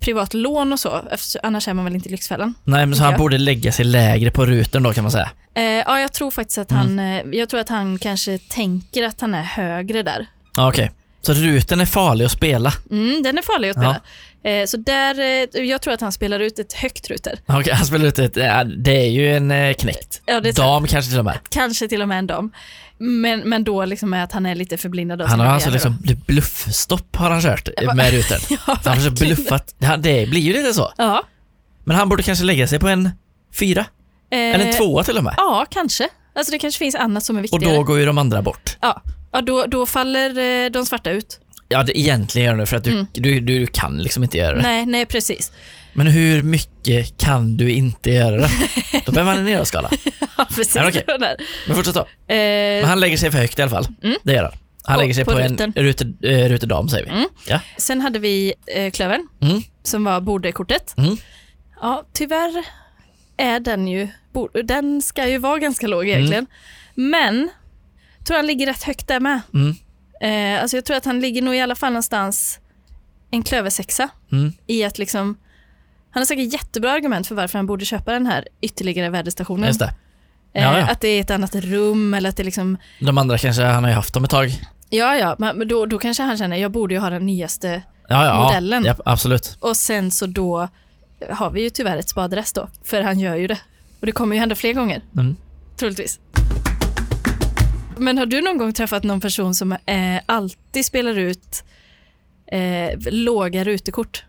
privat lån och så, eftersom, annars är man väl inte i Lyxfällan. nej men så Ja. han borde lägga sig lägre på ruten då kan man säga. Eh, ja, jag tror faktiskt Mm. att han, eh, jag tror att han kanske tänker att han är högre där. Ja, okej. Så ruten är farlig att spela. Mm, den är farlig att spela. Eh, så där, eh, jag tror att han spelar ut ett högt ruter. Okej, han spelar ut ett, ja, det är ju en eh, knäckt. Ja, det tror Dam kanske till och med. Kanske till och med en dam. Men, men då liksom är att han är lite förblindad av Han har sina alltså begär då. liksom, det bluffstopp har han kört eh, Ja, med ruten. *laughs* Ja, Så han har försökt verkligen. bluffat, Ja, det blir ju lite så. Ja. Men han borde kanske lägga sig på en fyra, eller en Eh, tvåa till och med. Ja, kanske. Alltså det kanske finns annat som är Och viktigare. då går ju de andra bort. Ja, ja då, då faller eh, de svarta ut. Ja, det egentligen gör det för att du, Mm. du, du, du kan liksom inte göra det. Nej, nej precis. Men hur mycket kan du inte göra det? Då behöver man en nedåtskala. Ja, *laughs* precis. Ja, okej. Det var där. Men fortsätt då. Eh, Men han lägger sig för högt i alla fall. Mm. Det gör han. Han På- lägger sig på på, ruten. en rute, eh, rutedam säger vi. Mm. Sen hade vi eh, klövern, Mm. som var bordekortet. Mm. Ja, tyvärr är den ju, bo- den ska ju vara ganska låg Mm. egentligen. Men, jag tror han ligger rätt högt där med. Mm. Eh, alltså jag tror att han ligger nog i alla fall någonstans en klöversexa Mm. i att liksom han har säkert jättebra argument för varför han borde köpa den här ytterligare väderstationen. Just det. Ja, Eh, ja. Att det är ett annat rum eller att det liksom, De andra kanske, han har ju haft dem ett tag. ja ja, men men då, då kanske han känner jag borde ju ha den nyaste. Ja, ja, Modellen. Ja, absolut. Och sen så då har vi ju tyvärr ett spadrest då, för han gör ju det. Och det kommer ju hända fler gånger, Mm. troligtvis. Men har du någon gång träffat någon person som eh, alltid spelar ut eh, låga rutekort?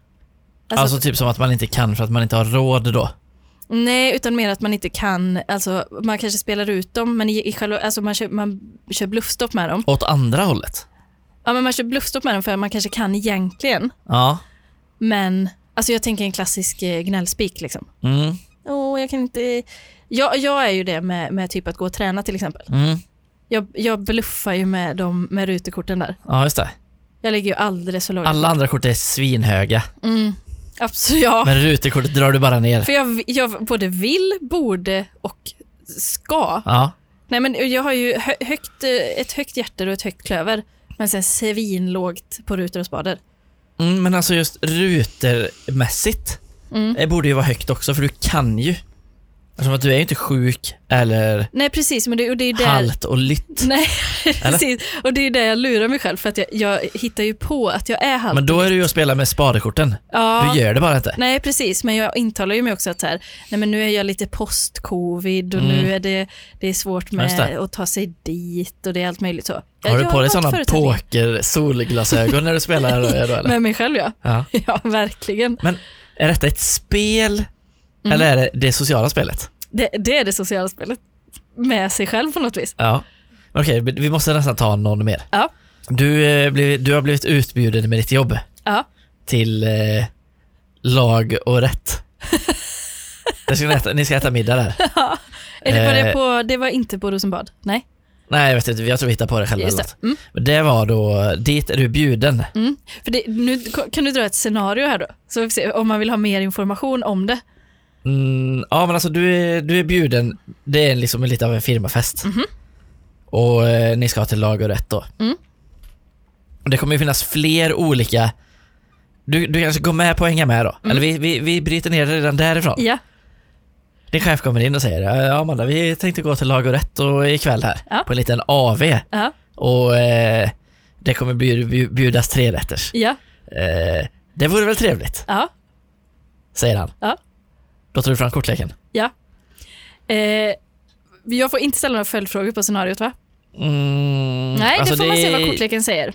Alltså, typ som att man inte kan för att man inte har råd då. Nej, utan mer att man inte kan, alltså man kanske spelar ut dem, men i, i själva, alltså man kör, man kör bluffstopp med dem. Åt andra hållet. Ja, men man kör bluffstopp med dem för att man kanske kan egentligen, Ja. men alltså jag tänker en klassisk eh, gnällspik liksom. Mm. Åh, jag kan inte... Jag, jag är ju det med, med typ att gå och träna till exempel. Mm. Jag, jag bluffar ju med, dem, med rutekorten där. Ja, just det. Jag ligger ju alldeles för lågt. Alla andra kort är svinhöga, Mm. Absolut, ja. men rutekortet drar du bara ner. För jag, jag både vill, borde och ska. Ja. Nej, men jag har ju hö, högt, eh, ett högt hjärter och ett högt klöver, men sen svinlågt på rutor och spader. Mm, men alltså just rutermässigt Mm. det borde ju vara högt också för du kan ju. Eftersom att du är ju inte sjuk eller Nej, precis, men det, och det är ju där... halt och lytt. Nej, *laughs* precis. Och det är ju där jag lurar mig själv, för att jag, jag hittar ju på att jag är halt. Men då är du ju att spela med spadekorten. ja. Du gör det bara inte. Nej, precis. Men jag intalar ju mig också att så här, nej, men nu är jag lite post-covid och Mm. nu är det, det är svårt Ja, just med att ta sig dit och det är allt möjligt så. Har du på dig sådana på? poker-solglasögon när du spelar då, då, *laughs* eller? Med mig själv ja. Ja. Ja, verkligen. Men är detta ett spel Mm. eller är det det sociala spelet? Det, det är det sociala spelet. Med sig själv på något vis. Ja. Men Okej, vi måste nästan ta någon mer. Ja. Du, eh, blev- du har blivit utbjuden med ditt jobb Ja. till eh, lag och *laughs* rätt. Där ska ni, äta, ni ska äta middag där. Eller var det, Eh. på, det var inte på Rosenbad? Nej. Nej, jag vet inte. Jag tror vi hittar på det själva. Just Just det. Mm. det. det var då, dit är du bjuden. Mm. För det, nu kan du dra ett scenario här då, så vi får se om man vill ha mer information om det. Mm, ja, men alltså du är, du är bjuden. Det är liksom lite av en firmafest. Och eh, ni ska till lag och rätt då. Mhm. Mm. Och Det kommer ju finnas fler olika... Du, du kanske går med på att hänga med då? Eller vi, vi, vi bryter ner det redan därifrån. Mm. Ja, din Din chef kommer in och säger "Eh, ja Amanda, vi tänkte gå till lag och rätt och ikväll här Ja. på en liten AV ja, och eh, det kommer bjud, bjud, bjudas tre rätters. ja, Eh, det vore väl trevligt, ja. säger han. Ja. Då tar du fram kortleken. Eh, jag får inte ställa några följdfrågor på scenariot va? Mm, Nej, alltså det får man se vad kortleken säger.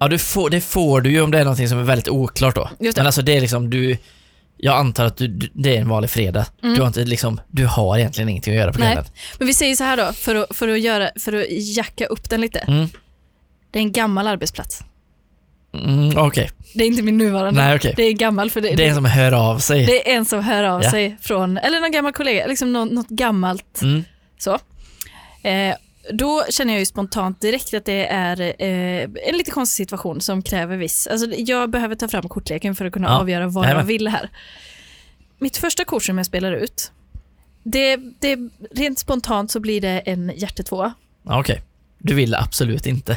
Ja, du får, det får du ju om det är någonting som är väldigt oklart då. Just det. Men alltså det är liksom du, jag antar att du, du, det är en vanlig fredag. Mm. Du har inte liksom, du har egentligen ingenting att göra på Nej. kvällen. Men vi säger så här då, för att, för att, göra, för att jacka upp den lite. Mm. Det är en gammal arbetsplats. Mm, okej, Det är inte min nuvarande. nej okej. Det är gammal för det, Det är en som hör av sig. det är en som hör av Ja. sig från, eller någon gammal kollega, liksom något, något gammalt Mm. så. Eh, då känner jag ju spontant direkt att det är eh, en lite konstig situation som kräver viss, alltså jag behöver ta fram kortleken för att kunna Ja. avgöra vad jag Jajamän. vill här. Mitt första kort som jag spelar ut, det, det, rent spontant så blir det en hjärtetvåa. Ja, Okej. Du vill absolut inte.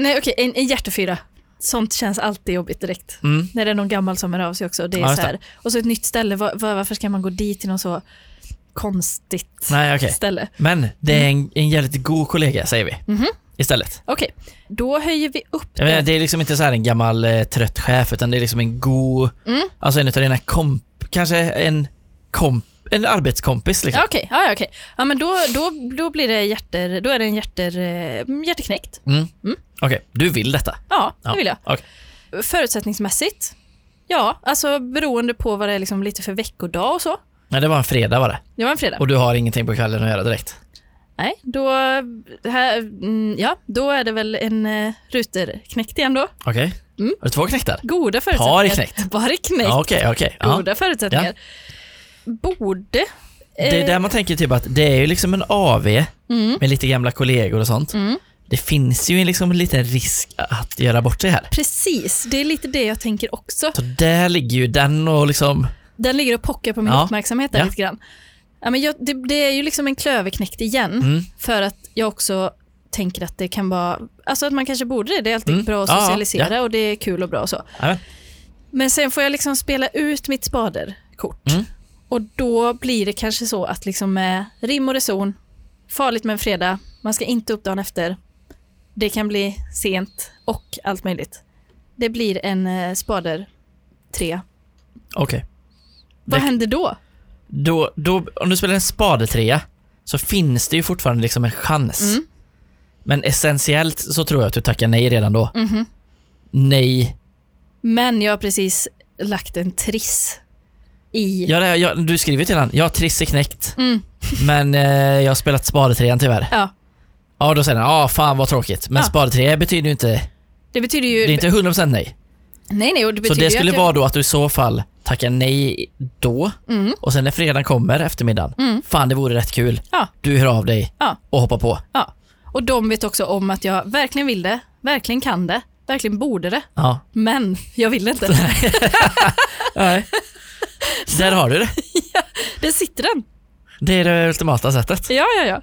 Nej okej, en, en hjärtefyra. Sånt känns alltid jobbigt direkt. Mm. När det är någon gammal som hör av sig också. Och, det är Ja, just så här. och så ett nytt ställe, var, var, varför ska man gå dit till något så konstigt Nej, okej. ställe? Men det är en, en jävligt god kollega, säger vi. Mhm. Istället. Okej, då höjer vi upp Jag menar, det. det är liksom inte så här en gammal eh, trött chef, utan det är liksom en god, Mm. alltså en av dina komp, kanske en komp, en arbetskompis liksom. Ja, Okej, ja, ja, okej. ja, men då, då, då blir det hjärter, då är det en hjärter, eh, hjärteknäckt. Mm. Okej, du vill detta? Ja, det vill jag. okej. Förutsättningsmässigt, ja, alltså beroende på vad det är liksom lite för veckodag och så. Nej, det var en fredag var det. Det var en fredag. Och du har ingenting på kvällen att göra direkt? Nej, då, här, mm, ja, då är det väl en eh, ruterknäckt igen då. Okej. Mm. Har du två knäktar? Goda Par i förutsättningar. knäckt. *laughs* Bara knäckt. Ja, Okej, okej. Ja. Goda förutsättningar. Borde... eh, Det är där man tänker typ att det är ju liksom en AV Mm, med lite gamla kollegor och sånt. mm. Det finns ju liksom en liten risk att göra bort sig här. Precis, det är lite det jag tänker också. Så där ligger ju den och liksom... Den ligger och pockar på min Ja. uppmärksamhet där Ja. lite grann. Ja, men jag, det, det är ju liksom en klöverknäckt igen, Mm. för att jag också tänker att det kan vara, alltså att man kanske borde det, det är alltid Mm. bra att Ja, ja, socialisera och det är kul och bra och så. Ja, Men sen får jag liksom spela ut mitt spaderkort. Mm. Och då blir det kanske så att liksom med rim och reson, farligt med en fredag, man ska inte upp dagen efter, det kan bli sent och allt möjligt. Det blir en eh, spader 3. Okej. Vad Det- händer då? Då, då, om du spelar en spadetrea så finns det ju fortfarande liksom en chans. Mm. Men essentiellt så tror jag att du tackar nej redan då. Mhm. Nej. Men jag har precis lagt en triss i... Ja, det, jag, du skriver till han, jag har Trisse knäckt, Mm, men eh, jag har spelat spadetrean tyvärr. ja. Ja, då säger han ja, fan vad tråkigt. Men Ja. spadetrea betyder ju inte, Det betyder ju... det är inte 100% nej. Nej, nej, och det Så betyder det ju skulle att vara då att du i så fall tackar nej då jag... Mm, och sen när fredagen kommer eftermiddagen, Mm. fan det vore rätt kul. Ja. Du hör av dig Ja. och hoppar på. ja. Och de vet också om att jag verkligen vill det, verkligen kan det, verkligen borde det. Ja. Men *laughs* jag vill inte. Nej. *laughs* Där har du det. Där sitter den. Det är det ultimata sättet. Ja, ja, ja.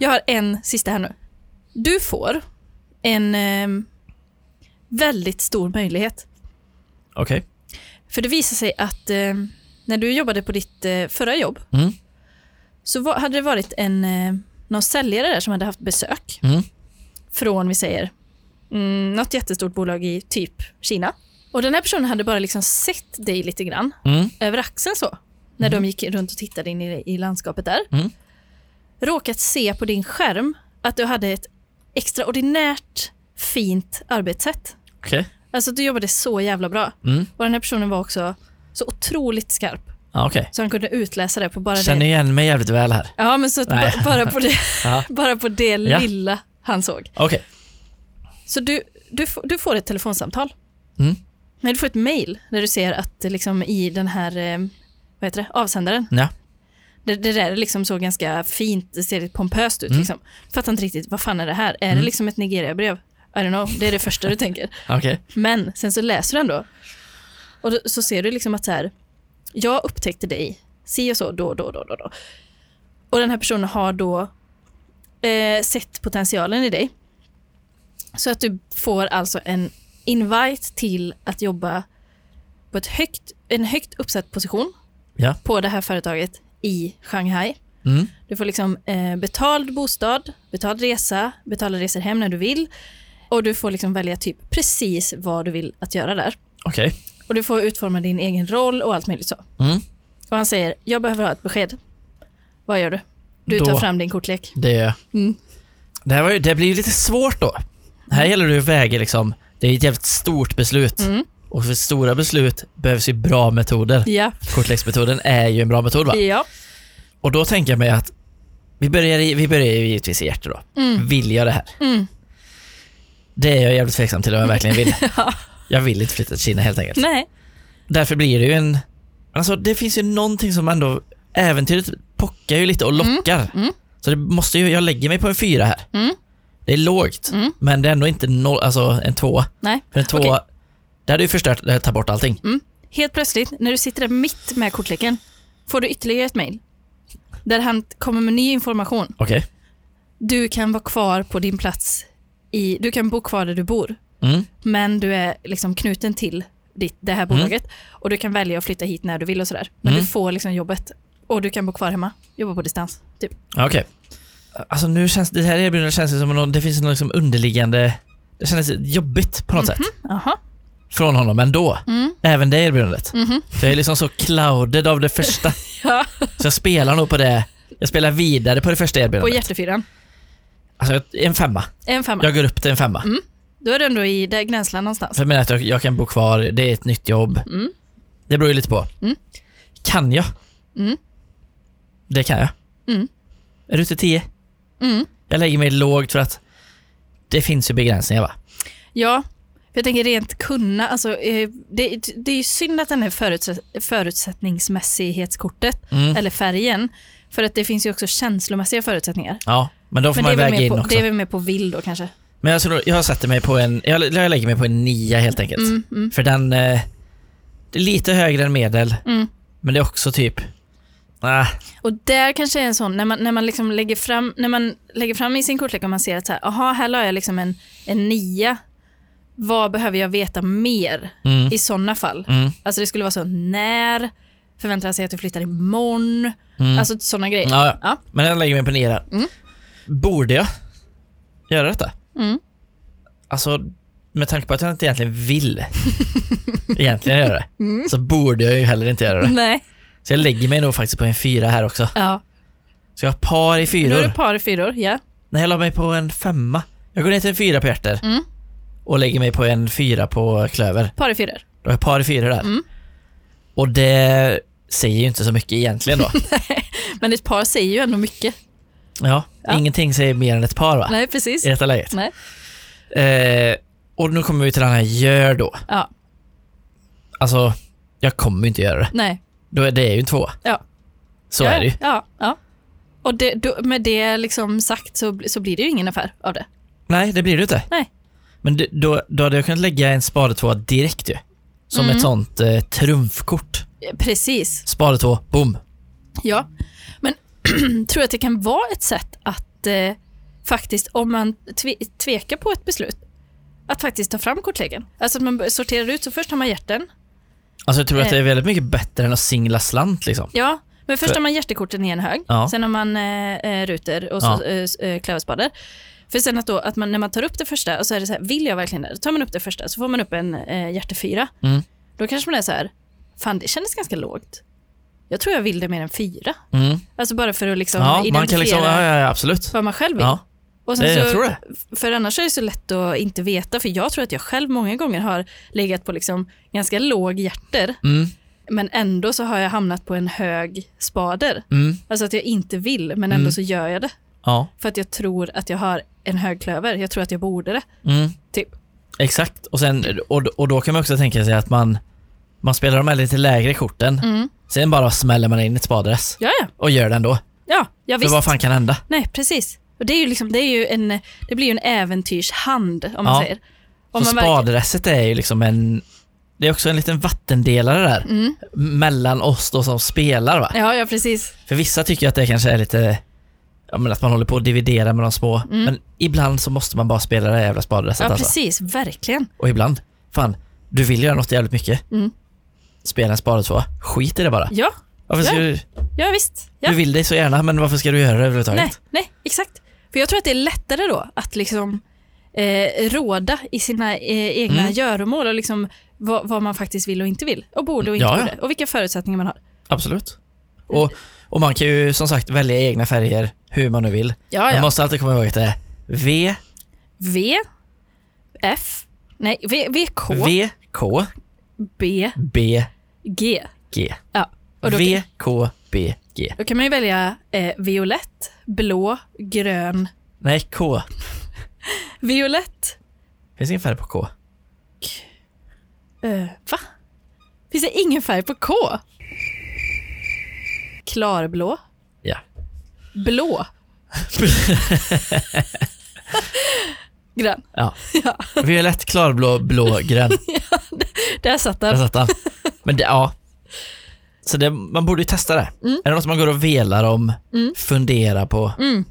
Jag har en sista här nu. Du får en ehm, väldigt stor möjlighet. Okej. För det visar sig att ehm, när du jobbade på ditt eh, förra jobb Mm. så va- hade det varit en, eh, någon säljare där som hade haft besök Mm. från, vi säger, mm, något jättestort bolag i typ Kina. Och den här personen hade bara liksom sett dig lite grann Mm. över axeln så. När de gick runt och tittade in i, i landskapet där. Mm. Råkat se på din skärm att du hade ett extraordinärt fint arbetssätt. Okej. Alltså du jobbade så jävla bra. Mm. Och den här personen var också så otroligt skarp. Ja, okej. Så han kunde utläsa det på bara Känner det. igen mig jävligt väl här. Ja, men så att Nej. ba- bara på det, *laughs* Ja. bara på det Ja. lilla han såg. Okej. Så du, du, f- du får ett telefonsamtal. Mm. Nej, du får ett mejl där du ser att eh, liksom, i den här eh, vad heter det, avsändaren Ja. Det, det där liksom såg ganska fint, det ser lite pompöst ut. Mm. Liksom. Fattar inte riktigt, vad fan är det här? Är det Mm. liksom ett Nigeria-brev? I don't know, det är det första du tänker. Okej. Men sen så läser du ändå. Och då, så ser du liksom att så här, jag upptäckte dig, si och så, då, då, då, då, då. Och den här personen har då eh, sett potentialen i dig. Så att du får alltså en invite till att jobba på ett högt, en högt uppsatt position Ja. på det här företaget i Shanghai. Mm. Du får liksom eh, betald bostad, betald resa, betalda resor hem när du vill. Och du får liksom välja typ precis vad du vill att göra där. Okej. Och du får utforma din egen roll och allt möjligt så. Mm. Och han säger, jag behöver ha ett besked. Vad gör du? Du tar Då- fram din kortlek. Det gör jag. Mm. Det, här var ju, det blir ju lite svårt då. Här gäller det ju att väga liksom, det är ett jävligt stort beslut. Mm. Och för stora beslut behövs ju bra metoder. Ja. Kortleksmetoden är ju en bra metod va? ja. Och då tänker jag mig att vi börjar, i, vi börjar ju givetvis i hjärtat då. Mm. Vill jag det här? Mm. Det är jag jävligt tveksam till om jag verkligen *laughs* vill. Jag vill inte flytta till Kina helt enkelt. Nej. Därför blir det ju en... Alltså det finns ju någonting som ändå... Äventyret pockar ju lite och lockar. mm. Så det måste ju... Jag lägger mig på en fyra här. Mm. Det är lågt, Mm. men det är ändå inte noll, alltså en tvåa. Nej. För en tvåa, Okej. Mm. det hade ju förstört, det hade tagit bort allting. Helt plötsligt, när du sitter där mitt med kortleken, får du ytterligare ett mejl. Där han kommer med ny information. Okej. Du kan vara kvar på din plats i, du kan bo kvar där du bor. Mm. men du är liksom knuten till ditt, det här bolaget och du kan välja att flytta hit när du vill och sådär. Men Mm. du får liksom jobbet och du kan bo kvar hemma, jobba på distans. Typ. Ja, Okej. Alltså nu känns det här erbjudandet känns det som någon, det finns någon liksom underliggande... Det kändes jobbigt på något sätt Aha. från honom ändå. Mhm. Mm. Mhm. Även det erbjudandet. För jag är liksom så clouded av det första. Ja. Så jag spelar nog på det. Jag spelar vidare på det första På erbjudandet. hjärtefyran, Alltså en femma. en femma. Jag går upp till en femma. Mm. Då är du ändå i det gränsland någonstans. För jag menar att jag, jag kan bo kvar, det är ett nytt jobb. Mm. Det beror ju lite på. Mm. Kan jag? Mm. Det kan jag. Mm. Är du ute i tio? Mm. Jag lägger mig lågt för att det finns ju begränsningar va? Ja, för jag tänker rent kunna, alltså, eh, det, det är ju synd att den här förutsätt, förutsättningsmässighetskortet, Mm. eller färgen, för att det finns ju också känslomässiga förutsättningar. Ja, men då får Men man det ju är, väl väga mer in på, också. det är väl mer på vill då kanske. Men jag, tror, jag sätter mig på en, jag, jag lägger mig på en nia helt enkelt. Mm, mm, För den, eh, det är lite högre än medel, mm. men det är också typ, nej, Och där kanske är en sån, när man, när man, liksom lägger, fram, när man lägger fram i sin kortlek och man ser att så här, aha, här la jag liksom en, en nia. Vad behöver jag veta mer mm, i sådana fall? mm, Alltså det skulle vara så, när förväntar jag sig att du flyttar imorgon? mm. Alltså sådana grejer. Ja, ja. Ja. *laughs* Men jag lägger mig på ner där. Mm. Borde jag göra detta? Mm. Alltså, med tanke på att jag inte egentligen *laughs* vill egentligen göra det, Mm. så borde jag ju heller inte göra det. Nej. Så jag lägger mig nog faktiskt på en fyra här också. Ja. Så jag har par i Då är det fyror. par i fyror, ja. Nej, jag la mig på en femma. Jag går ner till en fyra på hjärter Mm. och lägger mig på en fyra på klöver. Par i fyror. Då har jag par i fyror där. Mm. Och det säger ju inte så mycket egentligen *laughs* då. Men ett par säger ju ändå mycket. Ja, Ja. ingenting säger mer än ett par va? Nej, precis. I detta läget. Nej. Eh, och nu kommer vi till den här gör då. Ja. Alltså, jag kommer ju inte göra det. Nej. Då är det är ju en tvåa. Ja. Så ja. är det ju. Ja. ja. Och det, då, med det liksom sagt så, så blir det ju ingen affär av det. Nej, det blir det inte. Nej. Men det, då, då hade jag kunnat lägga en spade tvåa direkt ju. Som Mm. ett sånt eh, trumfkort. Eh, Precis. Spade två, boom. Ja, men *clears throat* tror jag att det kan vara ett sätt att eh, faktiskt, om man tve tvekar på ett beslut, att faktiskt ta fram kortleken. Alltså att man bör- sorterar ut, så först har man hjärten. Alltså jag tror att Eh. det är väldigt mycket bättre än att singla slant liksom. Ja, men först För- har man hjärtekorten i en hög, Ja. sen har man eh, eh, ruter och så Ja. eh, s- eh, klöverspadar. För sen att, då, att man, när man tar upp det första och så är det så här, vill jag verkligen det? Då tar man upp det första så får man upp en eh, hjärtefyra. Mm. Då kanske man är så här, fan det kändes ganska lågt. Jag tror jag vill det mer än fyra. Mm. Alltså bara för att liksom Ja, identifiera man kan liksom, ja, ja, ja, absolut. vad man själv vill. Ja, Och sen det, så, jag tror det. För annars är det så lätt att inte veta, för jag tror att jag själv många gånger har legat på liksom ganska låg hjärter, Mm, men ändå så har jag hamnat på en hög spader. mm, Alltså att jag inte vill, men ändå Mm. så gör jag det. ja. För att jag tror att jag har en hög klöver, jag tror att jag borde det. Mm. Typ. Exakt. Och, sen, och, och då kan man också tänka sig att man Man spelar de här lite lägre korten, Mm. sen bara smäller man in ett spadress Ja, ja. och gör det ändå. Ja, ja visst. För vad fan kan hända? Nej, precis. Och det, är ju liksom, det, är ju en, det blir ju en äventyrshand, om man Ja. säger. Om så man verkligen- spadresset är ju liksom en... Det är också en liten vattendelare där. Mm. Mellan oss då som spelar va? Ja, ja, precis. För vissa tycker att det kanske är lite... Ja men att man håller på att dividera med de små. Men ibland så måste man bara spela det här jävla spadresset Mm. Ja, alltså. precis. Verkligen. Och ibland, fan, du vill göra något jävligt mycket. Mm. Spela en spade två. Skit i det bara. Ja, Varför ska Ja. du... ja visst. Ja. Du vill det så gärna, men varför ska du göra det överhuvudtaget? Nej, nej, exakt. För jag tror att det är lättare då att liksom eh, råda i sina eh, egna Mm. göromål och liksom vad, vad man faktiskt vill och inte vill och borde och inte Ja, ja. borde och vilka förutsättningar man har. Absolut. Och, och man kan ju som sagt välja egna färger hur man nu vill. Ah, Ja, Man ja. måste alltid komma ihåg att det är V, V, F, nej, v, VK, V, K, B, B, G. G. Ja, och då, V, K, B, G. då kan man ju välja eh, violett, blå, grön, Nej, K. violett. Finns ingen färg på K. Eh, va? Finns det ingen färg på K? Klarblå, Ja. blå, *laughs* grön. ja. Violett, klarblå, blå, *laughs* grön. Där satt Där den. satt han. Men det, ja. Så det, man borde ju testa det. Mm. Är det något man går och velar om, Mm. funderar på, Mm.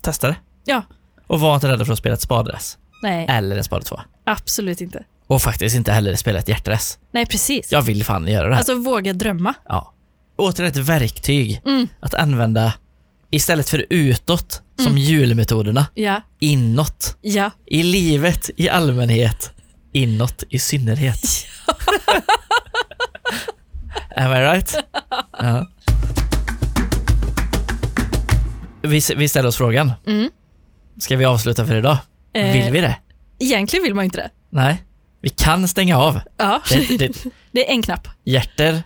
testa det. Ja. Och var inte rädda för att spela ett spadress. Nej, Eller en spade två. absolut inte. Och faktiskt inte heller spela ett hjärtress. Nej, precis. Jag vill fan göra det här. Alltså våga drömma. Ja. Återigen ett verktyg Mm. att använda istället för utåt Mm. som julmetoderna, Ja, inåt. ja. I livet i allmänhet, inåt i *laughs* synnerhet. Am I right? *laughs* Ja. Vi, s- vi ställer oss frågan, Mm. ska vi avsluta för idag? Eh, Vill vi det? Egentligen vill man ju inte det. Nej, vi kan stänga av. Ja, Det, det, *laughs* det är en knapp. hjärter,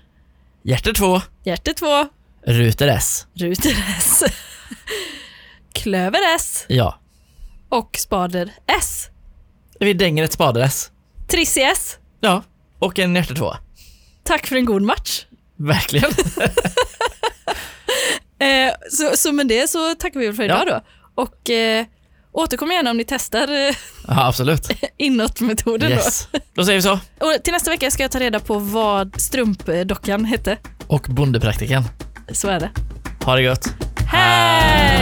hjärter 2, Hjärte 2, ruter S. ruter S, *laughs* klöver S Ja, och spader S. vi dänger ett spadress. Trissi S, Ja, och en hjärtetvåa. tack för en god match. Verkligen. Eh, så, så med det så tackar vi väl för Ja. idag då. Och eh, återkom gärna om ni testar eh, *laughs* Ja, absolut. inåtmetoden Yes. Då säger vi så. då. Och till nästa vecka ska jag ta reda på vad strumpdockan hette. Och bondepraktiken. Så är det. Ha det gött. Hej!